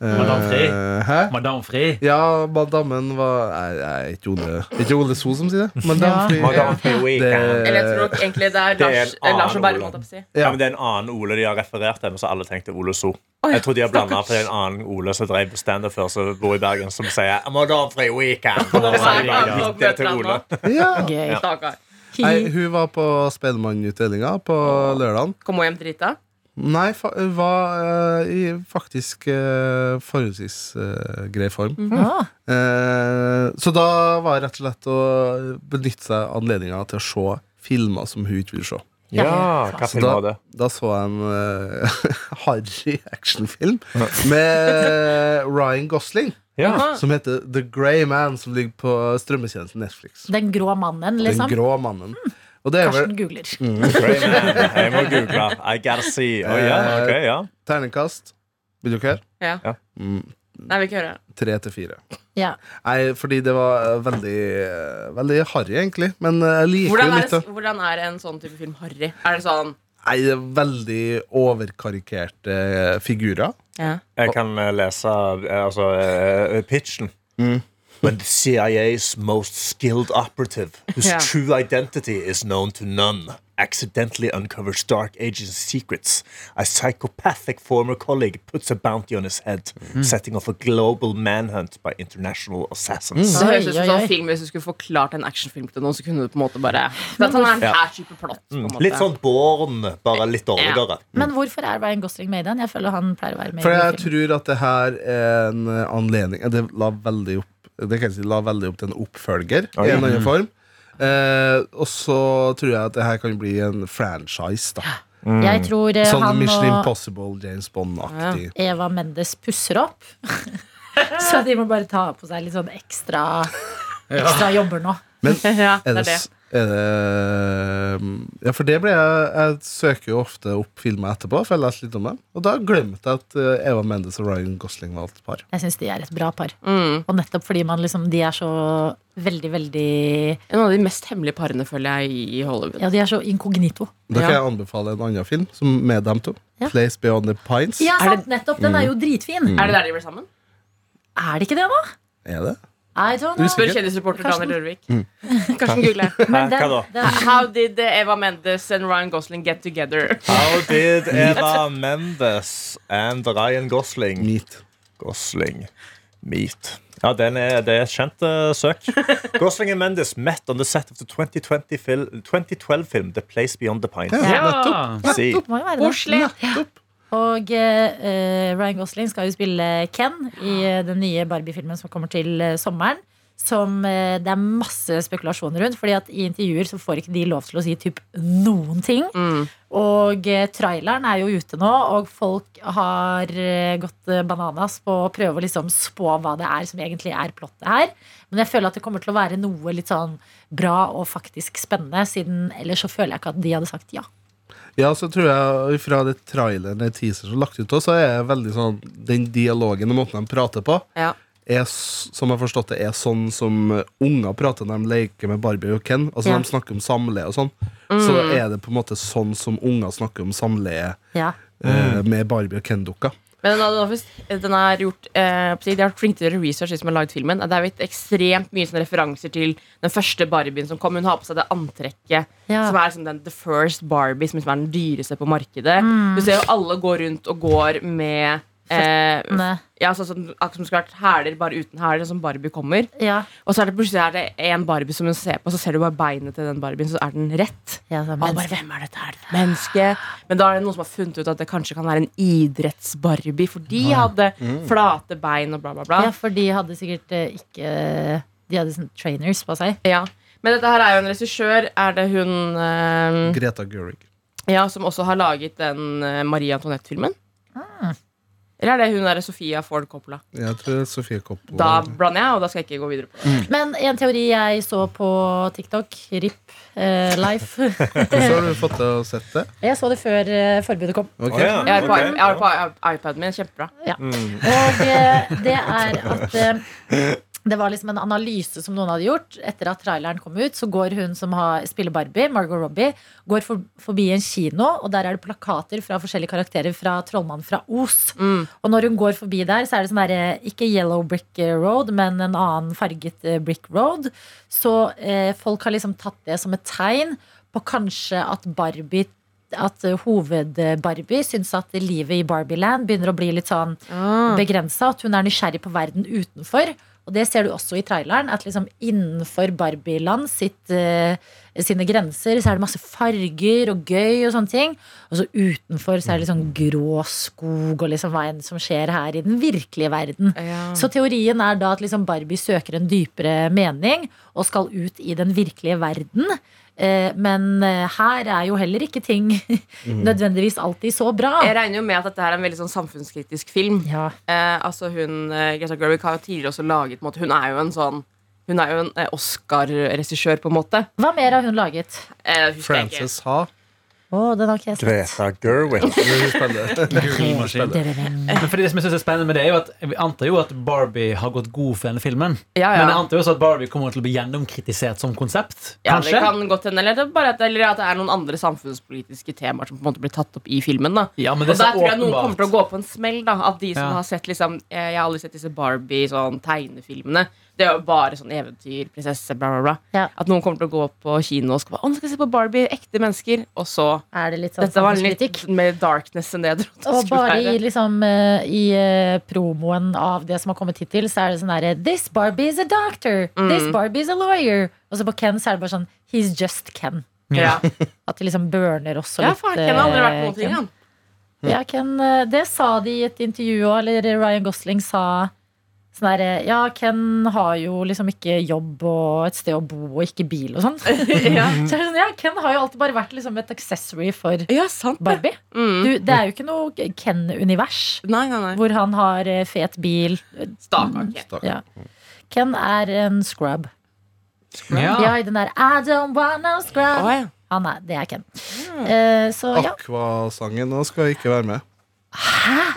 D: Madame Fri.
E: Hæ?
D: Madame Fri.
E: Ja, madammen var Nei, nei, ikke Ole Det er ikke Ole So som sier det. Madame Fri.
F: Madame Pui.
E: Det,
C: Eller jeg tror nok egentlig det er
F: Det er en
C: Lars, eh, Lars og Bærum.
F: annen
C: holdt jeg på å si.
F: Ja, men det er en annen Ole de har referert til, men så alle tenkte Ole So. Jeg tror de har blanda for det er en annen Ole som drev standup før, som bor i Bergen, som sier I'm on off for a weekend. Og da
C: Så er det bare
F: var det
C: å
F: litt til
C: møte han
F: Ole.
C: nå.
E: ja.
B: Gøy.
C: Stakkar.
E: Nei, hun var på Spellemannutdelinga på lørdagen.
C: Kom hjem drita.
E: Nei, fa hun var eh, i faktisk uh, forholdsvis eh, grei form.
B: Ah,
E: Eh, så da var det rett og slett å benytte seg av anledninga til å se filmer som hun ikke vil se.
F: Ja, hva
E: Så
F: film var
E: da,
F: det?
E: da så jeg en uh, harry actionfilm med Ryan Gosling
F: Ja.
C: Ah.
E: som heter The Grey Man, som ligger på strømmetjenesten Netflix.
B: den grå mannen,
E: Den
B: liksom.
E: grå mannen.
C: Hmm.
E: Og det er vel
B: Karsten googler.
F: Grey Man. Jeg må google. I gotta see. Oh, Å ja, ok, ja.
E: terningkast. Vil dere høre?
C: Ja.
F: Ja.
E: Mm,
C: Nei, vi ikke høre.
E: tre til fire.
B: Ja.
E: Nei, fordi det var eh, veldig eh, Veldig harry, egentlig. Men eh, jeg liker
C: Hvordan
E: jo
C: er,
E: litt av
C: hvordan er en sånn type film harry? Er det sånn
E: Nei, det er veldig overkarikerte eh, figurer.
C: ja.
F: Jeg kan eh, lese eh, altså, eh, pitchen. When the CIA's most skilled operative, whose
C: Ja.
F: true identity is known to none, accidentally uncovers dark agent's secrets, a psychopathic former colleague puts a bounty on his head,
B: Mm.
F: setting off a global manhunt by international assassins.
C: Så
B: Oi,
C: høres ut som
B: oi, oi.
C: sånn film Hvis du skulle forklart en actionfilm til noen, så kunne du på en måte bare For at han er
F: Ja.
C: en her type plott.
B: Mm.
C: På en måte.
F: Litt sånn Born, bare litt dårligere.
B: Men hvorfor er Ryan Gosling med i den? Jeg føler han pleier å være med.
E: For
B: i
E: jeg
B: film.
E: tror at det her er en eh, anledning eh, Det la veldig opp Det kan jeg si la veldig opp til en oppfølger
F: Oi.
E: i en annen form. Eh, og så tror jeg at det her kan bli en franchise. da
B: Jeg tror eh,
E: Sånn
B: han
E: Mission
B: og
E: Impossible, James Bond-aktig.
B: Eva Mendes pusser opp. Så de må bare ta på seg litt sånn ekstra, ekstra jobber nå.
E: Men
C: Ja, det
E: Er
C: er
E: det,
C: det.
E: s- er det eh, Ja, for det ble jeg Jeg søker jo ofte opp filmer etterpå, for jeg har lest litt om dem. Og da glemte jeg at eh, Eva Mendes og Ryan Gosling var et par.
B: Jeg syns de er et bra par.
C: Mm.
B: Og nettopp fordi man liksom, de er så veldig, veldig
C: En av de mest hemmelige parene, føler jeg, i- i Hollywood.
B: Ja, de er så inkognito.
E: Da kan
C: Ja.
E: jeg anbefale en annen film som med dem to.
B: Ja.
E: Place Beyond the Pines.
B: Ja,
C: Er det-
B: sant, nettopp. Den
E: Mm.
B: er jo dritfin.
C: Er det der de blir sammen?
B: Er det ikke det, da?
E: Er det?
B: I don't know.
C: Spør kjendisreporter
B: Karsten.
C: Daniel Rørvik.
F: Mm.
C: Karsten Gugle.
B: Men
F: Hæ, hva
B: den,
F: da?
B: den,
C: How did Eva Mendes and Ryan Gosling get together?
F: How did Eva Mendes and Ryan Gosling
E: Meat.
F: Gosling meet. Ja, den er, det er et kjent eh, søk. Gosling and Mendes met on the set of the 2020 fil 2012 film The Place Beyond the Pines.
E: Ja.
C: Ja.
F: Si.
B: må jo være det.
C: Koselig.
B: Og eh, Ryan Gosling skal jo spille Ken i eh, den nye Barbie-filmen som kommer til eh, sommeren. Som eh, det er masse spekulasjoner rundt. Fordi at i intervjuer så får ikke de lov til å si typ noen ting. Og eh, traileren er jo ute nå, og folk har eh, gått eh, bananas på å prøve å liksom spå hva det er som egentlig er plottet her. Men jeg føler at det kommer til å være noe litt sånn bra og faktisk spennende. Siden ellers så føler jeg ikke at de hadde sagt ja.
E: Ja, så tror jeg fra det traileren eller teaser som er lagt ut, også, så er jeg veldig sånn den dialogen og måten de prater på,
C: Ja.
E: er, s- som jeg har forstått det, er sånn som eh, unger prater når de leker med Barbie og Ken. Altså
B: Ja. Mm.
E: når de snakker om samleie og sånn. Så er det på en måte sånn som unger snakker om samleie
B: ja.
E: eh,
F: Mm.
E: med Barbie og Ken-dukka.
C: Men den, hadde faktisk- den er gjort eh, på å si, De har vært flinke til å gjøre research, de som har laget filmen. Det er blitt ekstremt mye sånne referanser til den første Barbien som kom. Hun har på seg det antrekket
B: Ja.
C: som er liksom den The First Barbie, som liksom er den dyreste på markedet. Du ser jo alle går rundt og går med eh,
B: Men,
C: ja, sånn som, akkurat som skulle vært hæler, bare uten hæler, sånn som Barbie kommer.
B: ja.
C: Og så er det plutselig er det en Barbie som hun ser på, så ser du bare beinet til den Barbien, så er den rett.
B: Ja, sånn,
C: Og alle bare, hvem er dette her? Menneske. Men da er det noen som har funnet ut at det kanskje kan være en idretts-Barbie, for de hadde flate bein og bla, bla, bla.
B: Ja, for de hadde sikkert eh, ikke De hadde sånn trainers på seg.
C: Ja. Men dette her er jo en regissør. Er det hun
B: Mm.
C: eh,
E: Greta Gerwig.
C: ja, som også har laget den eh, Marie Antoinette-filmen? Ah. Eller er det hun der Sofia Ford Coppola?
E: Jeg tror Sofie Koppola
C: Da blander jeg, og da skal jeg ikke gå videre på det.
B: Men en teori jeg så på TikTok, RIP eh, Life
E: Hvordan har du fått til å sett det?
B: Jeg så det før eh, forbudet kom.
E: Ok.
F: Å, Oh, ja.
C: Jeg har det på,
F: Ok,
C: iP- jeg har det på iPaden min. Kjempebra.
B: Og eh, det er at eh, Det var liksom en analyse som noen hadde gjort. Etter at traileren kom ut, så går hun som har, spiller Barbie, Margot Robbie, går for, forbi en kino, og der er det plakater fra forskjellige karakterer fra Trollmannen fra Os. Og når hun går forbi der, så er det sånn derre Ikke yellow brick eh, road, men en annen farget eh, brick road. Så eh, folk har liksom tatt det som et tegn på kanskje at Barbie at eh, hoved-Barbie syns at livet i Barbieland begynner å bli litt sånn begrensa. At hun er nysgjerrig på verden utenfor. Og det ser du også i traileren. At liksom innenfor Barbieland sitt, eh, sine grenser så er det masse farger og gøy og sånne ting. Og så utenfor så er det liksom grå skog og liksom hva enn som skjer her i den virkelige verden.
C: Ja.
B: Så teorien er da at liksom Barbie søker en dypere mening og skal ut i den virkelige verden. Eh, Men eh, her er jo heller ikke ting nødvendigvis alltid så bra.
C: Jeg regner jo med at dette her er en veldig sånn samfunnskritisk film.
B: Ja.
C: Eh, altså hun, eh, Greta Gerwig har jo tidligere også laget på en måte, Hun er jo en sånn Hun er jo en eh, Oscar-regissør, på en måte.
B: Hva mer har hun laget?
C: Eh, husker jeg ikke.
E: Frances Ha.
B: Å, den har ikke jeg sett.
F: Greta Gerwig.
E: Hun spiller.
D: Maskin. Men fordi det som jeg synes er spennende med det, er jo at vi antar jo at Barbie har gått god for denne filmen.
C: Ja, ja.
D: Men jeg antar jo også at Barbie kommer til å bli gjennomkritisert som konsept.
C: Ja,
D: Kanskje?
C: det kan godt hende. Eller, det er bare at, eller at det er noen andre samfunnspolitiske temaer som på en måte blir tatt opp i filmen. da
D: Ja, men
C: Og
D: det er
C: der
D: så
C: tror jeg noen
D: åpenbart.
C: kommer til å gå på en smell. da Av de som
D: Ja.
C: har sett liksom eh, Jeg har aldri sett disse Barbie-tegnefilmene. Det er jo bare sånn eventyr, prinsesse, bla, bla, bla.
B: Ja.
C: At noen kommer til å gå på kino og skal bare, å, nå skal jeg se på Barbie, ekte mennesker. Og så
B: Er det litt sånn
C: Dette var litt
B: samfunnskritikk?
C: mer darkness enn det jeg trodde. det
B: Og
C: skulle
B: bare i,
C: være.
B: liksom, eh, i eh, promoen av det som har kommet hittil, så er det sånn derre This Barbie is a doctor. This Barbie is a lawyer. Og så på Ken så er det bare sånn He's just Ken.
C: Ja,
B: At de liksom burner også
C: ja
B: litt.
C: faen, Ken har aldri vært
B: eh,
C: noen ting,
B: Ken.
C: han. Mm.
B: Ja, Ken, eh, det sa de i et intervju òg, eller Ryan Gosling sa sånn derre Ja, Ken har jo liksom ikke jobb og et sted å bo og ikke bil og sånn. så er
C: ja.
B: det sånn, ja, Ken har jo alltid bare vært liksom et accessory for
C: ja, sant det.
B: Barbie.
C: Mm.
B: Du, det er jo ikke noe Ken-univers.
C: Nei, nei, nei.
B: Hvor han har eh, fet bil.
C: Stakkar Ken.
B: Ja. Ken er en scrub.
C: Ah.
D: Ja.
B: Ja, i den der I don't wanna
C: Å,
B: scrub.
C: ja.
B: Han er, det er Ken.
C: Mm.
B: Eh, så ja.
E: Aqua-sangen nå skal ikke være med.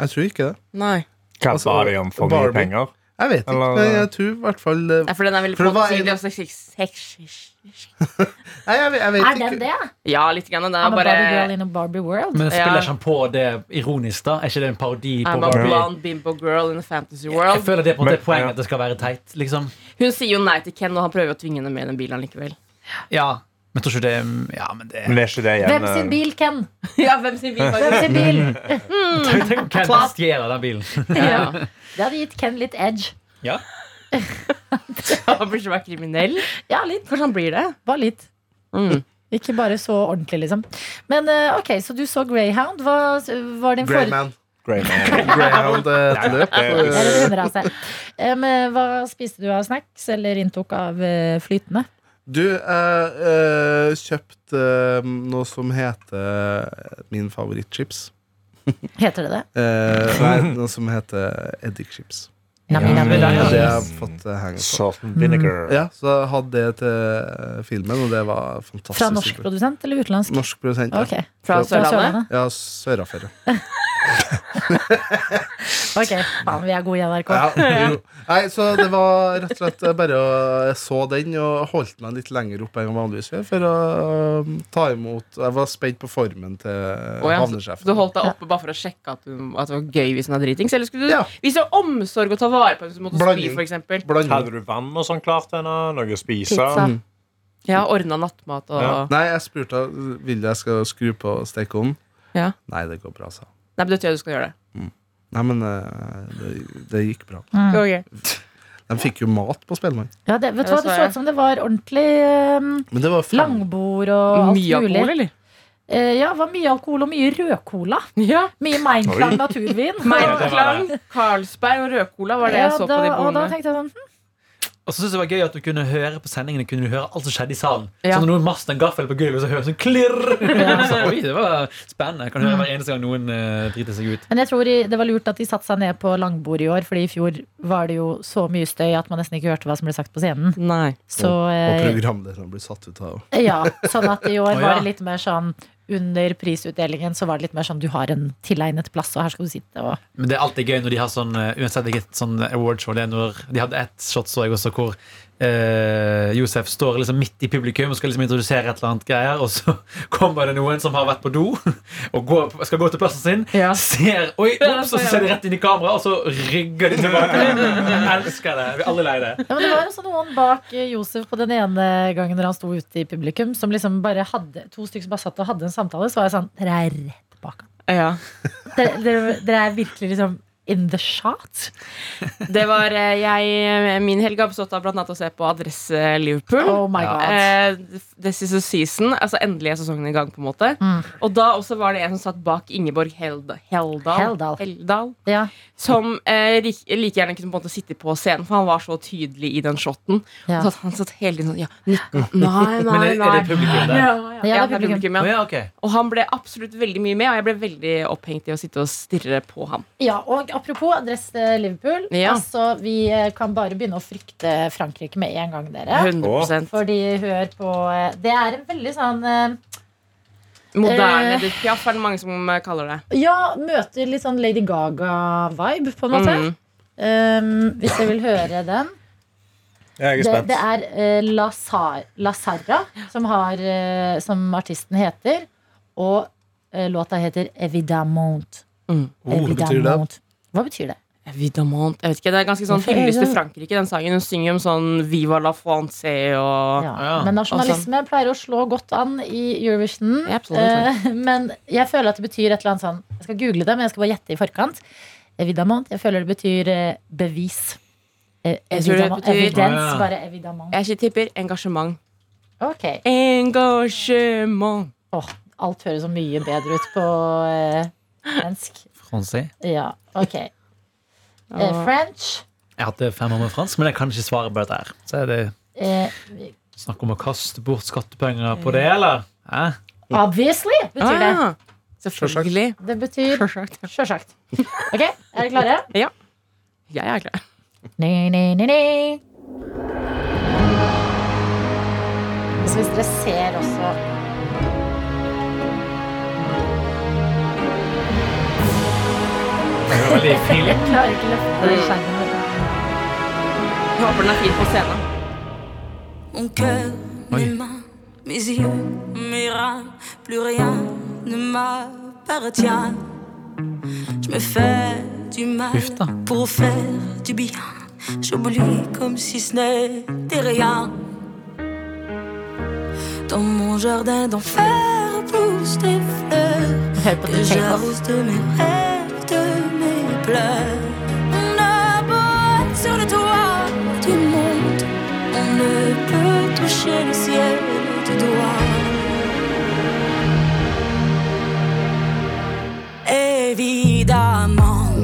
E: Jeg tror ikke det.
C: Nei.
F: Hva
E: Altså,
F: ba de om for mye
E: Barbie.
F: penger?
E: Jeg vet ikke,
F: Eller-
E: men jeg tror i hvert fall eh,
C: Nei, for den er veldig
E: For det var en-
C: motsigelig og sexis- sexis-
E: Nei, jeg, jeg vet
B: Er den
E: ikke.
B: det?
C: Ah. Ja, litt grann. Det
B: I'm a
C: er bare
B: Barbie girl in a Barbie world.
D: Men spiller
C: Ja.
D: ikke han på det ironisk, da? Er ikke det en parodi på
C: I'm a
D: Barbie?
C: blonde bimbo girl in a fantasy
D: Jeg
C: world.
D: føler det på en måte
F: Men-
D: er poenget
F: ja.
D: at det skal være teit, liksom.
C: Hun sier jo nei til Ken, og han prøver å tvinge henne med i den bilen likevel.
D: Ja. Men tror ikke det Ja, men det
F: Men det er ikke det igjen.
B: Hvem sin
F: eh,
B: bil, Ken?
C: Ja, hvem sin bil var
B: Hvem
C: det?
B: sin bil?
D: Tenk om Ken
C: Klart.
D: stjeler den bilen.
C: Ja.
B: Det hadde gitt Ken litt edge.
D: Ja.
C: Han burde ikke være kriminell.
B: Ja, litt.
C: Kanskje han blir det.
B: Bare litt.
C: Mm.
B: Ikke bare så ordentlig, liksom. Men eh, ok, så du så Greyhound. Hva var din fore-
E: Greyman.
F: Grey Man.
E: Greyhound eh, et løp.
F: Det
B: Eller en hunderase. Eh, men hva spiste du av snacks eller inntok av eh, flytende?
E: Du, jeg eh, kjøpte eh, noe som heter eh, min favorittchips.
B: Heter det det?
E: Eh, nei, noe som heter eddikchips.
B: Nami, nami.
D: men det er
E: Og det
D: jo-
E: har jeg fått eh, henge på.
F: Salt and vinegar.
E: Ja, så jeg hadde det til eh, filmen, og det var fantastisk.
B: Fra norsk
E: supert.
B: produsent eller utenlandsk?
E: Norsk produsent. ja.
B: Ok,
C: Fra
E: Fra
C: Sørlandet.
E: Ja, Sør-Afrika.
B: Ok, faen, vi er gode i NRK.
E: Ja, jo. Nei, så det var rett og slett bare å Jeg så den og holdt meg litt lenger opp enn jeg vanligvis gjør for å um, ta imot Jeg var spent på formen til
C: Å, ja. Så
E: havnesjefen.
C: Du holdt deg oppe bare for å sjekke at, du, at det var gøy hvis hun er dritings? Eller skulle du
E: Ja.
C: vise omsorg og ta vare på henne hvis hun måtte spy,
E: Blanding.
C: for eksempel
E: Blanding.
F: Hadde du vann og sånn klart til henne? Noe å spise?
B: Pizza.
C: Ja, ordna nattmat og
F: Ja.
E: Mm. Nei, jeg spurte henne, vil jeg skal skru på stekeovnen.
C: Ja.
E: Nei, det går bra, sa hun.
C: Nei, men det tror jeg du skal gjøre det.
E: Nei, men eh, det, det gikk bra.
C: Ok.
E: De fikk jo mat på Spellemann.
B: Ja, det, vet du
C: Ja,
B: hva, det
C: det så
B: så
C: jeg.
B: ut som det var ordentlig eh,
E: Men det var fem-
B: langbord og alt
C: Mye
B: mulig.
C: alkohol, eller?
B: Eh, ja, det var mye alkohol og mye rødcola.
C: Ja.
B: Mye Meinklang
F: Oi.
B: naturvin.
D: det var
C: Meinklang, Carlsberg og rødcola var det jeg så
B: da,
C: på de
B: og da
C: bordene.
B: tenkte jeg sånn hm,
D: Og så synes jeg det var gøy at du kunne høre på sendingene Kunne du høre alt som skjedde i salen.
C: Ja.
D: Så når noen maste en gaffel på gulvet, så hører du sånn klirr! Så, oi, det var spennende. Jeg kan høre hver eneste gang noen eh, driter seg ut.
B: Men jeg tror i- det var lurt at de satte seg ned på langbord i år, Fordi i fjor var det jo så mye støy at man nesten ikke hørte hva som ble sagt på scenen.
C: Nei.
B: Så
E: Og
B: eh,
E: programlederne ble satt ut av
B: ja, sånn at i år
D: Å,
B: var
D: ja.
B: det litt mer sånn under prisutdelingen så var det litt mer sånn du har en tilegnet plass, og her skal du sitte. Og
D: Men det er alltid gøy når de har sånn eh, Uansett hvilket sånn awardshow det er når De hadde ett shot så jeg også hvor eh, Josef står liksom midt i publikum og skal liksom introdusere et eller annet greier, og så kommer det noen som har vært på do og går, skal gå til plassen sin,
B: Ja.
D: ser Oi, ops, og så ser de rett inn i kamera, og så rygger de tilbake. Jeg elsker det. Vi er alle lei det.
B: Ja, men det var også noen bak eh, Josef på den ene gangen når han sto ute i publikum, som liksom bare hadde to stykker som bare satt og hadde en samtale. Så var jeg sånn Dere er rett bak han.
C: Ja.
B: Dere, dere, dere er virkelig liksom in the shot.
C: Det var eh, jeg Min helg har bestått av blant annet å se på Adresse Liverpool.
B: Oh my god.
C: Eh, this is a season. Altså endelig er sesongen i gang, på en måte. Og da også var det en som satt bak Ingeborg Held Heldal.
B: Heldal.
C: Heldal.
B: Ja.
C: Som eh, lik- like gjerne kunne på en måte sitte på scenen, for han var så tydelig i den shoten.
B: Ja.
C: Så at han satt hele tiden sånn Ja, 19 Nei, nei,
D: Men er,
C: nei.
D: er det publikum der?
C: Ja,
B: Ja, det er
C: det er
B: publikum.
C: publikum,
D: Å
C: ja.
D: ja, ok.
C: Og han ble absolutt veldig mye med, og jeg ble veldig opphengt i å sitte og stirre på ham.
B: Ja, og apropos adresse Liverpool.
C: Ja.
B: Altså, vi eh, kan bare begynne å frykte Frankrike med en gang, dere.
C: 100
B: Fordi hør på eh, Det er en veldig sånn eh,
C: Moderne
B: Eh.
C: Edith Piaf er det mange som eh, kaller det.
B: Ja, møter litt sånn Lady Gaga-vibe, på en måte.
C: Mm.
B: Um, hvis dere vil høre den.
F: Jeg er
B: Det,
F: spent.
B: det er eh, La, Sar La Sarra, som, har, eh, som artisten heter. Og eh, låta heter Evidamont.
E: Oh, hva betyr det?
B: Hva betyr det?
C: Evidemment. Jeg vet ikke, Det er ganske sånn
B: Hvorfor er
C: hyllest til
B: det-
C: Frankrike, den sangen. Hun synger om sånn Viva la France og
B: Ja.
D: Ja.
B: Men nasjonalisme pleier å slå godt an i Eurovision.
C: Ja, absolutt.
B: Eh, men jeg føler at det betyr et eller annet sånn Jeg skal google det, men jeg skal bare gjette i forkant. Evidamont. Jeg føler det betyr eh, bevis. Eh,
C: Jeg tror det
B: evidamment-
C: betyr-
B: Evidens,
D: Å, ja.
B: bare evidamment.
C: Jeg ikke tipper engasjement.
B: Ok.
C: Engasjement.
B: Åh, alt høres så mye bedre ut på eh, fransk.
D: Fransi.
B: Ja, ok. Eh, French.
D: Jeg hadde fem år med fransk, men jeg kan ikke svare på dette her. Så er det
B: Eh,
D: snakk om å kaste bort skattepenger på det, eller? Hæ?
B: obviously betyr det.
C: Ah, selvfølgelig.
B: Det betyr
C: Sjølsagt.
B: sjølsagt. Ok, er dere klare?
C: Jeg er klar.
B: Ni, ni, ni, ni. Så hvis dere ser også
D: Det er veldig fint.
B: Jeg klarer ikke å løfte skjermen.
C: Jeg håper den er fin på scenen.
G: Mon cœur,
D: Oui.
G: mes mains, mes yeux, mes reins, plus rien ne m'appartient. Je me fais du mal
D: Ouf, putain.
G: pour faire du bien. J'oublie comme si ce n'était rien. Dans mon jardin d'enfer poussent des fleurs
B: Hør på
G: que
B: det.
G: j'arrose de mes rêves, de mes pleurs. On aborde sur le toit du monde, on ne peut toucher le ciel du doigt. Évidemment,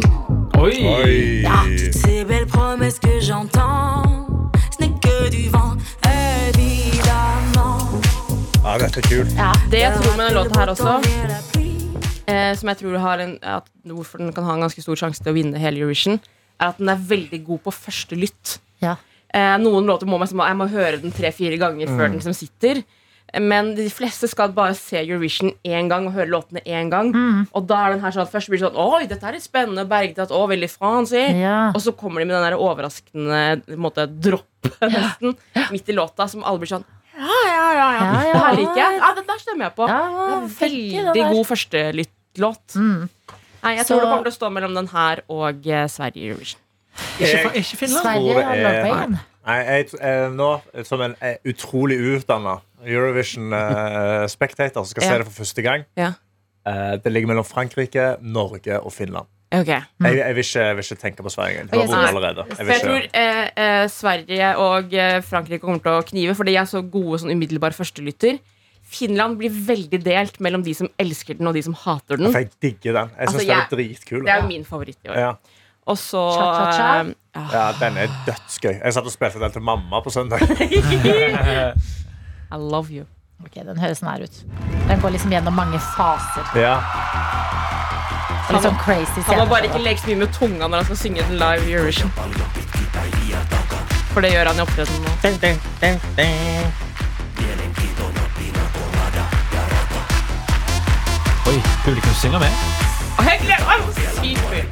D: Oi!
G: toutes ces belles promesses que j'entends, ce n'est que du vent, évidemment.
F: Ja, dette er kult.
C: Det jeg tror med den låta her også,
G: Vient la pluie.
C: eh, som jeg tror har en, at hvorfor den kan ha en ganske stor sjanse til å vinne hele Eurovision, er at den er veldig god på første lytt.
B: Ja.
C: Eh, noen låter må man, jeg må høre den tre-fire ganger før den liksom sitter. Eh, Men de fleste skal bare se Eurovision én gang og høre låtene én gang.
B: Mm.
C: Og da er den her sånn at først blir det sånn Oi, dette er litt spennende. Bergtatt. Å, veldig fransk.
B: Ja.
C: Og så kommer de med den der overraskende på en måte, droppet nesten midt i låta, som alle blir sånn Ja, ja, ja. ja.
B: Ja, ja.
C: Det her liker jeg. Ja, den der stemmer jeg på.
B: Ja,
C: Det er en
B: veldig
C: veldig god førstelyttlåt.
B: Mm.
C: Nei, jeg
B: Så-
C: tror det kommer til å stå mellom den her og eh, Sverige i Eurovision.
D: Ikke, fra- ikke Finland?
B: Sverige har
F: Jeg tror det er-
C: eh.
B: lovveien.
F: Nei, jeg, t- eh, nå, som en eh, utrolig uutdanna Eurovision-spectator som skal
C: Ja.
F: se det for første gang
C: Ja.
F: eh, Det ligger mellom Frankrike, Norge og Finland.
C: Ok
F: Jeg, jeg, vil, ikke, jeg vil ikke tenke på Sverige engang. Du
B: Ok, så-
F: har vunnet allerede. Jeg
C: For
F: vil
C: jeg
F: ikke.
C: tror eh, eh, Sverige og eh, Frankrike kommer til å knive, for de er så gode sånn umiddelbar førstelytter. Finland blir veldig delt mellom de som elsker den, og de som hater den.
F: For jeg digger den. Jeg syns
C: Altså,
F: den er
C: jeg-
F: dritkul.
C: Det er jo min favoritt i år.
F: Ja.
C: Og så
B: Cha-cha-cha.
C: eh, ja.
F: ja, den er dødsgøy. Jeg satt og spilte den til mamma på søndag.
C: I love you.
B: Ok, Den høres nær ut. Den går liksom gjennom mange faser.
F: Ja.
B: Det er Litt sånn crazy
C: Han må bare
B: scener.
C: ikke legge så mye med tunga når han skal synge den live i Eurovision. For det gjør han i opptredenen nå.
D: Publikum synger med.
C: Og jeg gleder meg! så Sykt mye.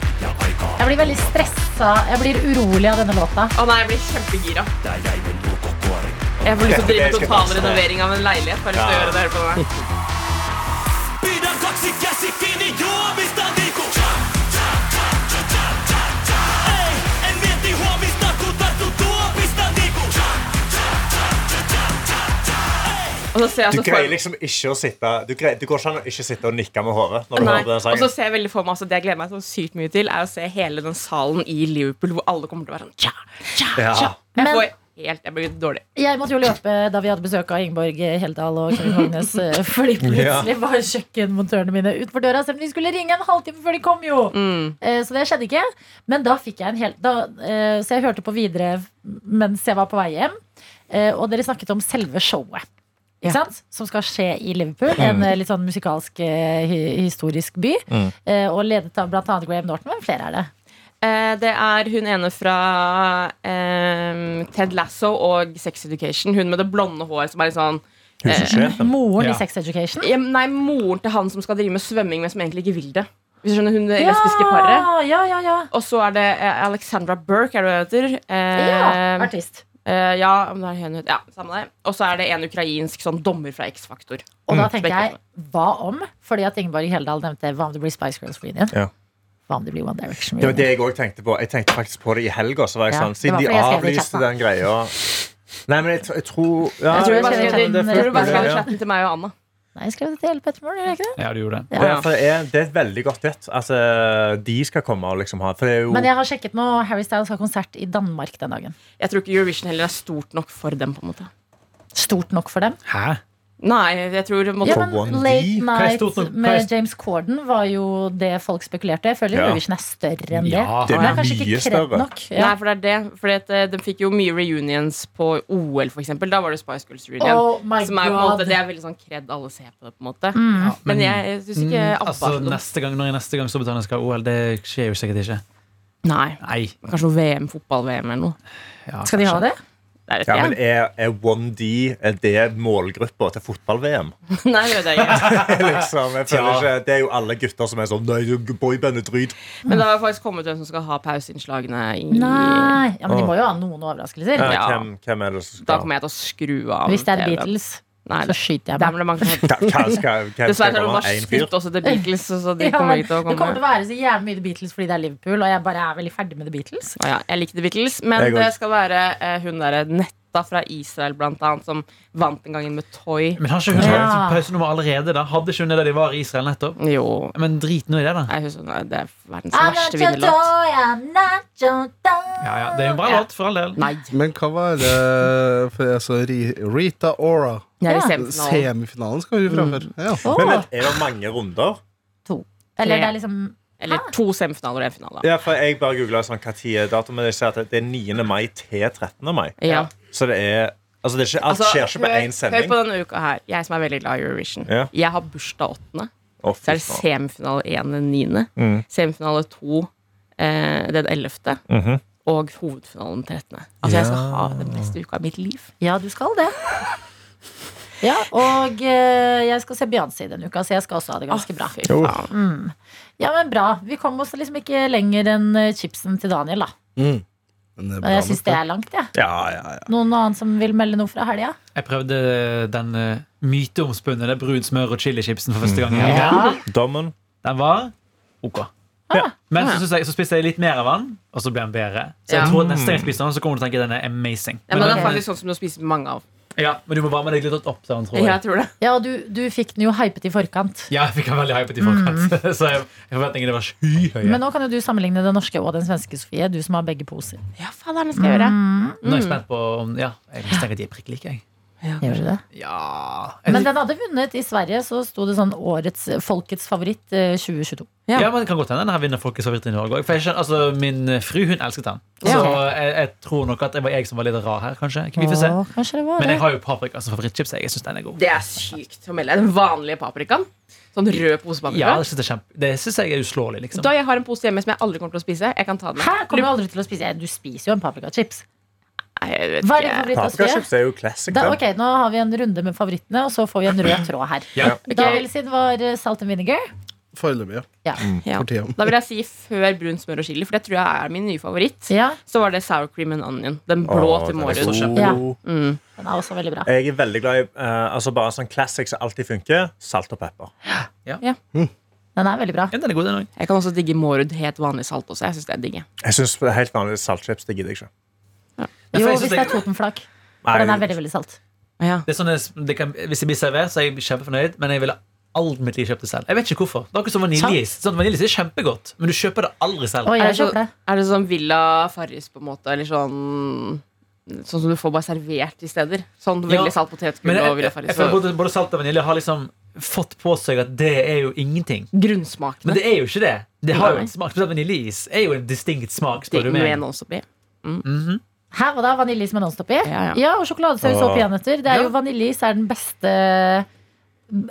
B: Jeg blir veldig stressa. Jeg blir urolig av denne låta.
C: Å nei, jeg blir kjempegira. Jeg får lyst til å drive total renovering av en leilighet. Bare lyst til å gjøre det her på meg. Og så ser jeg
F: Du
C: altså
F: greier
C: for,
F: liksom ikke å sitte Du, greier, du går ikke an å ikke sitte og nikke med hodet når du
C: nei,
F: hører den
C: og så
F: sangen.
C: ser jeg veldig for meg altså, Det jeg gleder meg så sykt mye til, er å se hele den salen i Liverpool hvor alle kommer til å være sånn tja, tja,
F: Ja.
C: tja. Jeg,
B: Men-
C: får helt, jeg blir dårlig.
B: Jeg måtte jo løpe da vi hadde besøk av Ingeborg Heldal og Kevin Vågnes, eh, fordi plutselig var kjøkkenmontørene mine utenfor døra. Selv om de skulle ringe en halvtime før de kom, jo!
C: Mm.
B: Eh, Så det skjedde ikke. Men da fikk jeg en hel da, eh, Så jeg hørte på videre mens jeg var på vei hjem. Eh, Og dere snakket om selve showet. Ikke sant? Som skal skje i Liverpool, en eh, litt sånn musikalsk, eh, hi- historisk by. eh, Og ledet av bl.a. Graham Norton. Hvem flere er det?
C: Eh, det er hun ene fra eh, Ted Lasso og Sex Education. Hun med det blonde håret som er litt sånn
F: Hussjefen.
B: Moren
D: Ja.
B: i Sex Education.
C: Ja, men Nei, moren til han som skal drive med svømming, men som egentlig ikke vil det. Hvis du skjønner, hun det lesbiske paret.
B: ja, ja, ja.
C: Og så er det eh, Alexandra Burke, er det hun heter? Eh,
B: ja artist.
C: eh, ja, om det er hun, ja, samme det. Og så er det en ukrainsk sånn dommer fra X-Faktor.
B: Og
F: Mm,
B: da tenker jeg, hva om? Fordi at Ingeborg Heldal nevnte hva om det blir Spice Girls reunion?
F: Ja.
B: Hva om det blir One Direction
F: Det var det
B: reunion?
F: jeg òg tenkte på. Jeg tenkte faktisk på det i helga. Så var jeg
B: Ja,
F: sånn,
B: det var
F: siden de
B: fordi jeg skrev det i
F: avlyste
B: chatten.
F: den greia Nei, men jeg, tr- jeg tror ja,
B: Jeg tror jeg
C: Bare
B: skrev
C: skriv det-
B: chatten-
C: jeg tror du bare skrev
F: Ja.
C: chatten til meg og Anna.
B: Nei, jeg skrev det til hele Pettermoren, gjør jeg ikke det?
D: Ja, du gjorde det.
F: ja, for det, er, det er et veldig godt et. Altså, de skal komme og liksom ha For det er jo
B: Men jeg har sjekket nå, Harry Styles har konsert i Danmark den dagen.
C: Jeg tror ikke Eurovision heller er stort nok for dem. på en måte
B: Stort nok for dem.
D: Hæ?
C: Nei, jeg tror det måtte
B: Ja, men
F: For One
B: Late
F: D?
D: Hva er stort
B: Night
D: nok? Hva er
B: med
D: st-
B: James Corden var jo det folk spekulerte. Jeg føler
F: Ja.
B: Eurovision er større enn det.
D: Ja,
F: det
B: Men det
F: er
B: er kanskje
F: mye
B: ikke kredd
F: større.
B: nok. Ja.
C: Nei, for det er det. Fordi at eh, De fikk jo mye reunions på OL, for eksempel. Da var det Spice Girls reunion.
B: Oh my
C: som er på en måte,
B: god.
C: Det er veldig sånn kred alle ser på det, på en måte.
B: Mm.
C: men, jeg syns ikke
D: Mm,
C: ABBA
D: altså,
C: er noe-
D: neste gang, når er neste gang Storbritannia skal ha OL, det skjer jo sikkert ikke.
C: Nei.
D: Nei.
C: Kanskje noe VM, fotball-VM eller noe.
D: Ja,
B: Skal de ha
D: kanskje.
B: det?
C: Det er
F: ja, men
C: det.
F: er, er 1D er det målgruppa til fotball-VM?
C: Nei, det vet jeg ikke.
F: liksom, jeg føler
D: Ja.
F: ikke, det er jo alle gutter som er sånn Nei, du, boyband er drit.
C: Men det har faktisk kommet hvem som skal ha pauseinnslagene i
B: Nei. Ja, men de må jo ha noen overraskelser.
F: Ja,
C: Ja.
F: Hvem, hvem er det som
C: Da
F: skal
C: kommer jeg til å skru av.
B: Hvis det er
C: TV-en.
B: Beatles,
C: Nei,
B: så skyter jeg meg.
C: der ble det mange som
F: Hva- hva skal- hvem skal
C: Dessverre har de
F: komme?
C: bare
F: En fyr?
C: skutt også til Beatles, så- så de
B: Ja,
C: kommer
B: men
C: ikke
B: Det
C: til å
B: kommer til
C: komme.
B: å være så jævlig mye The Beatles fordi det er Liverpool, og jeg bare er veldig ferdig med The Beatles.
C: Å ja, jeg likte Beatles, men
F: Jeg
C: det
F: også.
C: skal være eh, hun derre Netta fra Israel, blant annet, som vant den gangen med Toy.
D: Men har ikke hun
B: Ja.
D: hatt pausenummer allerede? da? Hadde ikke hun det da de var i Israel nettopp?
C: Jo.
D: Men drit nå i det, da.
C: Jeg husker, nei, Ah, det er verdens
B: I'm
C: verste
B: not your
C: vinnerlåt.
B: toy, I'm not your toy.
D: Ja, ja, Det er jo en bra
C: Ja.
D: låt, for all del.
C: Nei.
E: Men hva var det for jeg så Ri- Rita Ora.
C: Jeg er
B: Ja.
C: i semifinalen.
E: Semifinalen skal hun framfor. Ja.
B: Åh,
F: Men vent, er det mange runder?
B: Eller det er liksom
C: Eller to semifinaler og en finale.
F: Ja, for Jeg bare googla sånn, hva tid er datoen, men jeg ser at det er 9. mai til 13. mai.
C: Ja.
F: Så det er Altså, det er ikke, alt
C: Altså,
F: skjer ikke på
C: hør-
F: én sending.
C: Hør på denne uka her. Jeg som er veldig glad i Eurovision.
F: Ja.
C: Jeg har bursdag åttende.
F: Å, fy
C: Så er det
F: faen.
C: semifinale én den niende.
F: Mm.
C: Semifinale to eh, den ellevte.
F: Mhm.
C: Og hovedfinalen den trettende. Altså, jeg skal ha den beste uka av mitt liv.
B: Ja, du skal det. Ja, og eh, jeg skal se Beyoncé denne uka, så jeg skal også ha det ganske bra.
C: Fy faen.
B: Ja, men bra. Vi kom oss liksom ikke lenger enn eh, chipsen til Daniel, da.
E: Men det er
B: Men
E: bra
B: jeg syns
E: nok,
B: det
E: det.
B: er langt, jeg.
F: Ja, ja, ja.
B: Noen annen som vil melde noe fra helga?
D: Jeg prøvde den eh, myteomspunne brun smør og chilichipsen for første gang. i helgen.
F: Dommen.
D: Den var OK.
B: Ja.
D: Men
C: Ja.
D: så, synes jeg, så spiste jeg litt mer av den, og så ble den bedre. Så jeg
C: Ja.
D: tror at neste gang jeg spiser den, så kommer du til å tenke at den er amazing.
C: Ja, men det er
B: Ok.
C: faktisk sånn som du spiser mange av.
D: ja, men du må varme deg litt opp til den, tror jeg.
C: Jeg tror det.
B: Ja, og du, du fikk den jo hypet i forkant.
D: Ja, jeg fikk den veldig hypet i forkant. altså. så jeg, jeg forventningene var skyhøye.
B: Men nå kan jo du sammenligne den norske og den svenske, Sofie. Du som har begge poser.
C: Ja, faen, det er det jeg skal gjøre.
D: Nå er jeg spent på om Ja, jeg mistenker at de er prikk like, jeg.
B: Gjør du det?
D: Ja,
B: Men den hadde vunnet i Sverige, så sto det sånn årets folkets favoritt eh, 2022.
D: ja. men det kan godt hende den her vinner Folkets favoritt i Norge òg. Altså, min fru hun elsket den. Så
B: Ja.
D: jeg, jeg tror nok at det var jeg som var litt rar her, kanskje. Vi får se.
B: Å, kanskje det var
D: Men
B: det.
D: jeg har jo paprika som favorittchips. Jeg, jeg synes den er god.
C: Det er sykt å melde. Den vanlige paprikaen. Sånn rød pose
D: Ja,
C: paprika.
D: det synes jeg, er kjempe, det synes jeg er uslåelig, liksom.
C: Da jeg har en pose hjemme som jeg aldri kommer til å spise. Jeg kan ta den.
B: Hæ? Kommer du aldri til å spise Du spiser jo en paprikachips.
C: Nei, jeg vet
B: Hva er din
C: ikke.
B: favoritt? Sofie?
F: Paprikachips er jo classic.
B: Da,
F: den.
B: ok, Nå har vi en runde med favorittene, og så får vi en rød tråd her.
D: Ja.
B: Daniel sin var eh, salt and vinegar.
E: Foreløpig, ja.
C: Ja.
E: For tida.
C: Da vil jeg si før brun smør og chili, for det tror jeg er min nye favoritt.
B: Ja,
C: Så var det sour cream and onion. Den blå
F: Å,
C: til
F: den er
C: Mårud.
F: god.
B: Ja.
C: Mm.
B: den er også veldig bra.
F: Jeg er veldig glad i eh, altså bare sånn classic som alltid funker. Salt og pepper.
B: Den er veldig bra.
D: Ja, den er god, den òg.
C: Jeg kan også digge Mårud helt vanlig salt også. Jeg synes det er digg. jeg.
F: Jeg synes det er Helt vanlig saltchips det gidder jeg ikke.
B: Jo,
D: jeg synes
B: hvis det er
D: jeg-
B: Totenflak.
F: Nei,
B: For den er veldig, veldig salt.
C: Ja.
D: Det er sånn jeg- det kan, hvis jeg blir servert, så er jeg kjempefornøyd, men jeg ville aldri mitt liv kjøpt det selv. Jeg vet ikke hvorfor. Det er akkurat som vaniljeis. Sånn, vaniljeis er kjempegodt, men du kjøper det aldri selv.
B: Oi,
C: Er
B: jeg
C: det, så,
B: kjøper det.
C: er det sånn Villa Farris, på en måte? Eller sånn Sånn som du får bare servert i steder? Sånn
D: Ja.
C: veldig salt
D: Men
C: potetgull og
D: jeg,
C: Villa
D: jeg,
C: Farris.
D: jeg føler
C: og
D: både, både salt og vanilje har liksom fått på seg at det er jo ingenting. Men
C: Grunnsmakene.
D: det er jo ikke det. Det har jo
C: Nei.
D: en smak. Spesielt vaniljeis er jo en distinkt smak, spør du
C: Digg med
D: meg.
C: noe oppi.
B: Her og da vaniljeis med Nonstop i.
C: Ja, ja.
B: og sjokoladesaus og
F: Åh.
B: peanøtter. Det er
D: Ja.
B: jo vaniljeis er den beste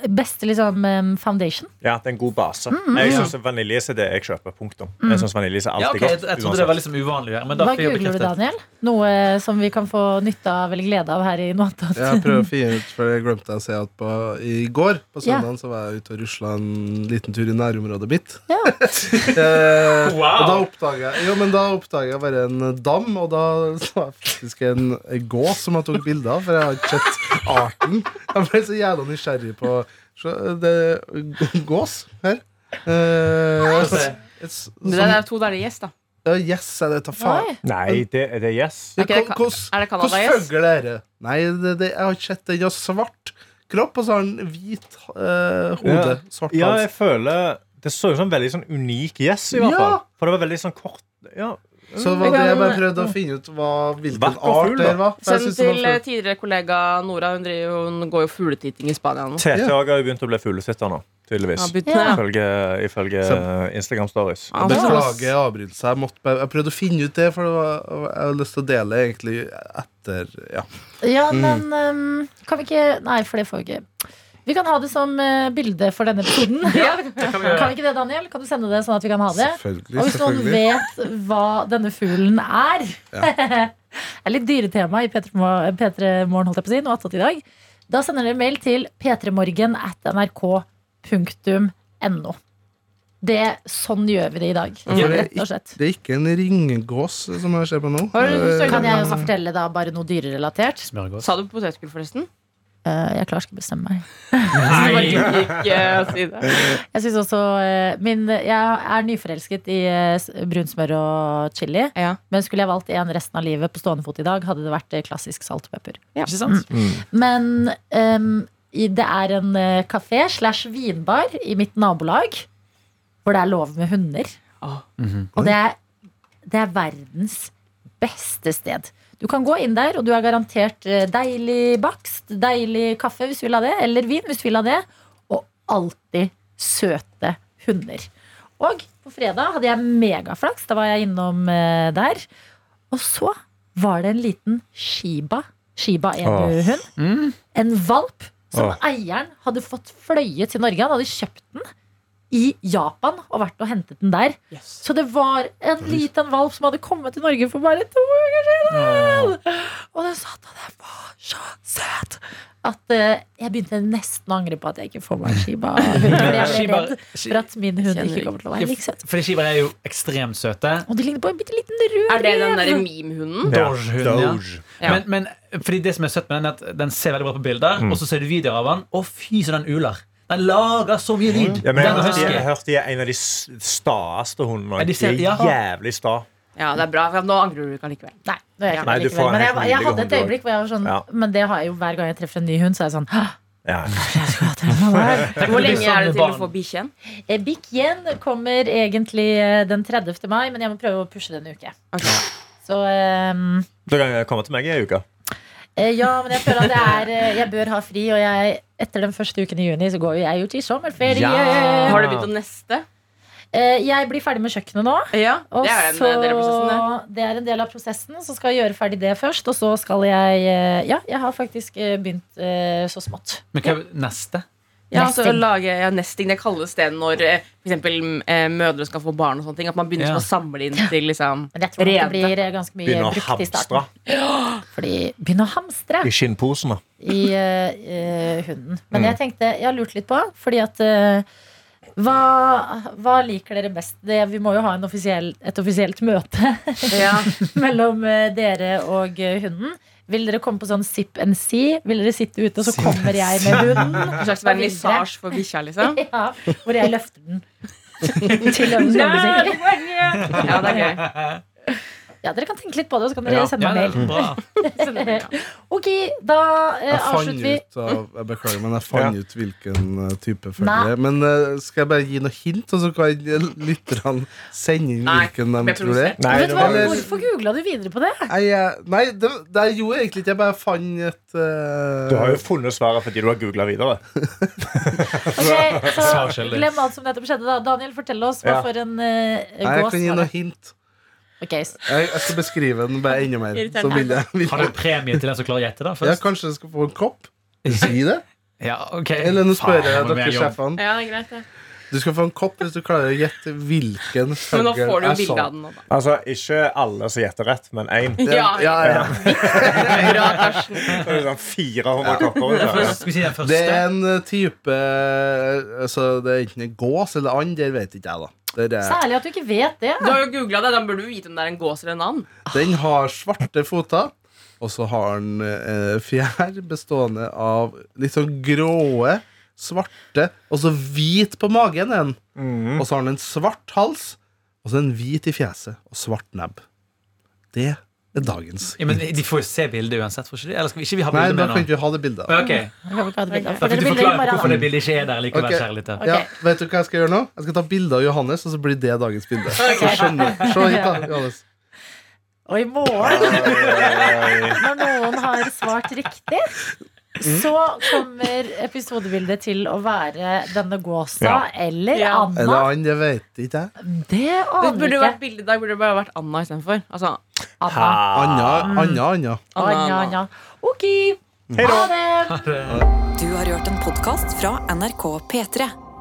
B: Beste liksom em, foundation.
F: Ja, det er en god base.
B: Mm,
F: Jeg synes vaniljeis er det jeg kjøper. Punktum. Jeg synes vaniljeis er
D: Ja,
F: alltid
D: ok, jeg,
F: godt.
D: jeg trodde det var liksom uvanlig å gjøre, men da
B: Hva
D: får jeg
B: googler du,
D: bekreftet.
B: Daniel? Noe eh, som vi kan få nytte av eller glede av her i noe annet.
E: Jeg prøver å finne ut, for jeg glemte å si at på, i går på
B: Ja.
E: søndagen så var jeg ute og rusla en liten tur i nærområdet mitt.
B: Ja.
E: Eh, Og da
D: Wow!
E: oppdaga jeg, jo, men da oppdaget jeg bare en dam, og da så jeg faktisk en gås som jeg tok bilde av, for jeg har ikke sett arten. Jeg ble så jævla nysgjerrig på så eh, det, gås her. Eh,
D: se.
E: s-
C: Det
E: som-
C: er to der det er gjest, da.
E: ja, yes, jeg vet da faen.
B: Oi.
F: Nei, det, det er yes.
C: Er ikke det
E: Hvordan-
C: ka- er det Canada,
E: hvordan
C: yes?
E: fugl er det? Nei, det, det, jeg har ikke sett den. Den har svart kropp, og så har den hvit eh, hode. Svart
F: Ja, jeg
E: hals.
F: føler Det så ut som en veldig sånn unik yes, i hvert
E: Ja.
F: fall. For det var veldig sånn kort ja.
E: Så var det jeg bare prøvde å finne ut hva, hvilken
F: Vakker fugl,
E: art det
F: da.
E: var. for jeg
C: Mm. Send
E: synes den var
C: til
E: fugl.
C: eh, tidligere kollega Nora. Hun, driver, jo- hun går jo fugletitting i Spania nå.
F: Tete
E: Ja.
F: Haag har jo begynt å bli fuglesitter nå, tydeligvis.
C: Ja, bytt
B: Ja.
C: ned,
F: Ifølge, ifølge
E: Så-
F: eh, Instagram Stories.
C: Ja, altså.
E: Beklager avbrytelsen. Jeg, måtte bare- jeg prøvde å finne ut det, for det var, jeg har lyst til å dele egentlig etter ja.
B: Ja, men em, kan vi ikke Nei, for det får vi ikke. Vi kan ha det som eh, bilde for denne episoden. Kan vi ikke det, Daniel? Kan du sende det sånn at vi kan ha det?
E: Selvfølgelig.
B: Og hvis noen vet hva denne fuglen er Det er litt dyretema i P3 Morgen, holdt jeg på å si, noe attåt i dag. Da sender dere mail til p3morgen at nrk.no. Det, sånn gjør vi det i dag,
E: For det,
B: rett og slett.
E: det er ikke en ringgås som jeg ser på nå.
C: Har du lyst til å-
B: Kan jeg også fortelle da bare noe dyrerelatert?
D: Smørgås.
C: Sa du potetgull, forresten?
B: Eh, Jeg klarer ikke å bestemme meg.
C: Nei. Ikke eh, si det.
B: Jeg synes også eh, min, Jeg er nyforelsket i eh, s- brunsmør og chili.
C: Ja.
B: Men skulle jeg valgt én resten av livet på stående fot i dag, hadde det vært eh, klassisk salt og pepper.
D: Ikke sant?
B: Men em, i, det er en eh, kafé slash vinbar i mitt nabolag hvor det er lov med hunder.
C: Åh.
B: Og det er, det er verdens beste sted. Du kan gå inn der, og du er garantert eh, deilig bakst, deilig kaffe hvis du vil ha det, eller vin hvis du vil ha det, og alltid søte hunder. Og på fredag hadde jeg megaflaks, da var jeg innom eh, der. Og så var det en liten Shiba, Shiba enu-hund en valp som
F: Åh.
B: eieren hadde fått fløyet til Norge. Han hadde kjøpt den i Japan og vært og hentet den der. Så det var en liten valp som hadde kommet til Norge for bare to uker siden! Og den satt og den var så søt! At eh, jeg begynte nesten å angre på at jeg ikke får meg en shiba. For jeg ble
D: Shiba-
B: redd for at min hund
C: Kjenner
B: ikke kommer til å være like søt.
D: Fordi skiver er jo ekstremt søte.
B: Og de ligner på en bitte liten rød
C: Er det den derre
B: rev.
C: meme-hunden?
F: Ja.
D: Doge-hunden, ja.
F: Doge.
C: Ja.
D: Men, men fordi det som er søtt med den, er at den ser veldig bra på
E: Mm.
D: bilder, og så ser du videoer av den, og fy så den uler. Den lager så mye lyd.
F: Ja, men jeg,
D: den
F: har hørt de-
D: husky.
F: jeg har hørt de er en av de s- staeste hundene.
D: Ja, de ser-
F: de er
D: ja.
F: jævlig sta.
C: Ja, det er bra. for Nå angrer du ikke allikevel.
B: Nei, det gjør jeg
F: Nei,
B: ikke
F: du får
B: likevel. Men jeg,
F: helt
B: jeg hadde
F: nydelige
B: et øyeblikk hvor jeg var sånn
F: Ja.
B: Men det har jeg jo hver gang jeg treffer en ny hund, så er jeg sånn «Hå,
F: Ja.
B: jeg skulle hatt en hund her.
D: Tenk om
C: Hvor
D: det blir
C: lenge er det
D: sånn med
C: til å få
D: barn.
C: bikkjen?
B: Eh, Big Yen kommer egentlig eh, den 30. mai, men jeg må prøve å pushe det en uke.
C: Ok.
B: Så ehm,
F: Da kan jeg komme til meg i ei uke.
B: eh, ja, men jeg føler at det er eh, Jeg bør ha fri, og jeg, etter den første uken i juni så går jo jeg jo til sommerferie.
D: Ja.
C: Har du begynt å neste?
B: Eh, jeg blir ferdig med kjøkkenet nå.
C: Ja,
B: Og
C: det er eh, en
B: så,
C: del av prosessen. det.
B: det er en del av prosessen, så skal jeg gjøre ferdig det først. Og så skal jeg eh, Ja, jeg har faktisk eh, begynt eh, så smått.
D: Men hva er neste?
C: Ja, altså, å
B: Nesting.
C: lage ja, nesting det kalles det når eh, for eksempel, m- eh, mødre skal få barn. og sånne ting At man begynner
D: Ja.
C: sånn å samle inn til liksom,
B: Men jeg tror nok det
C: Rede.
B: blir eh, ganske mye
F: Begynne å
B: brukt i
F: hamstre
B: starten. Fordi begynne å hamstre.
F: i skinnposene.
B: i eh, eh, hunden. Men jeg tenkte, jeg har lurt litt på, fordi at eh, Hva, hva liker dere best? Det, vi må jo ha en offisiell, et offisielt møte
C: Ja.
B: mellom eh, dere og eh, hunden. Vil dere komme på sånn sip and see? Vil dere sitte ute, og så kommer jeg med hunden?
C: En slags
B: Hva vil
C: vernissasje for bikkja, liksom.
B: Ja, hvor jeg løfter den. Til den skal bli sikker.
C: Ja, det er gøy.
B: ja, dere kan tenke litt på det, og så kan dere
D: Ja.
B: sende meg
D: Ja,
B: mail.
D: det er bra.
C: Så det- ja.
B: Ok, da eh,
E: Jeg fant
B: avslutter vi.
E: ut av, jeg beklager, men jeg fant ut hvilken eh,
B: Nei.
E: type følge. Men eh, skal jeg bare gi noe hint, sånn og så kan lytterne sende inn
C: Nei,
E: hvilken de
C: jeg
E: tror det er?
F: Nei,
B: Vet du
F: det
B: hva,
F: var
E: eller-
B: Hvorfor googla du videre på det?
E: Nei, jeg, nei det, det gjorde jeg egentlig ikke. Jeg bare fant et eh,
F: Du har jo funnet svaret fordi du har googla videre.
B: Ok,
D: Svar
B: så
D: skyldig.
B: Glem alt som nettopp skjedde. da Daniel, fortell oss hva
F: Ja.
B: for en eh,
E: Nei, jeg
B: gås
E: kan gi
B: var
E: noe
B: det?
E: hint.
B: Ok, s-
E: Jeg, jeg skal beskrive den bare enda mer. Så
C: Irriterende.
E: vil jeg, vil
D: Har
E: jeg.
D: du premie til den som klarer å gjette, da?
E: Ja,
D: Først?
E: kanskje jeg skal få en kopp? Si det?
D: Ja, ok
E: Eller nå spør jeg
D: Faen, må
E: dere
D: jeg jobbe.
E: sjefene.
C: ja, det er greit, det.
E: Du skal få en kopp hvis du klarer å gjette hvilken
C: Men nå
E: fugl
C: får du jo
E: jeg sa.
C: bilde av den nå, da.
F: Altså, ikke alle som gjetter rett, men én.
C: Ja,
E: Ja, ja.
C: bra, Karsten.
F: Så er det sånn 400 kopper. ut der.
D: Skal vi si den første?
E: Det er en eh, type altså, Det er enten en gås eller and, det vet ikke jeg, da. Det er eh, det.
B: Særlig at du ikke vet det.
C: Du har jo googla det, da burde du vite om det er en gås eller en and.
E: Den har svarte føtter, og så har den eh, fjær bestående av litt sånn gråe, svarte, og så hvit på magen. er Den. Og så har den en svart hals, og så en hvit i fjeset og svart nebb. Det er dagens.
D: Ja, men De får jo se bildet uansett, får ikke de? Eller skal vi ikke vi ha
E: Nei,
D: bildet
E: da
D: med
E: kan
D: nå?
E: ikke vi ha det bildet.
D: Ok,
B: Jeg kan ikke ha det bildet.
D: Da
B: Får
D: fikk
B: dere
D: du
B: bildet i
D: forklare hvorfor det
B: morgen?
D: bildet ikke er der likevel,
E: Ok.
D: kjære lytter.
E: Ja, vet du hva jeg skal gjøre nå? Jeg skal ta bilde av Johannes, og så blir det dagens bilde. Så skjønner du. Se hit, da, Johannes.
B: Og i morgen, når noen har svart riktig,
E: Mm.
B: så kommer episodebildet til å være denne gåsa
F: Ja.
B: eller
C: Ja.
B: Anna.
E: Eller and, det vet ikke jeg.
B: Det
C: Det
B: aner
C: burde
B: jeg
C: jo
B: ikke.
C: vært bilde i dag, burde det bare vært Anna istedenfor. Altså,
B: Anna.
E: Anja, Anja, Anja.
C: Anna,
B: Anja,
C: Anna.
B: Anja.
E: Mm.
B: Ok, ha det.
A: Du har hørt en podkast fra NRK P3.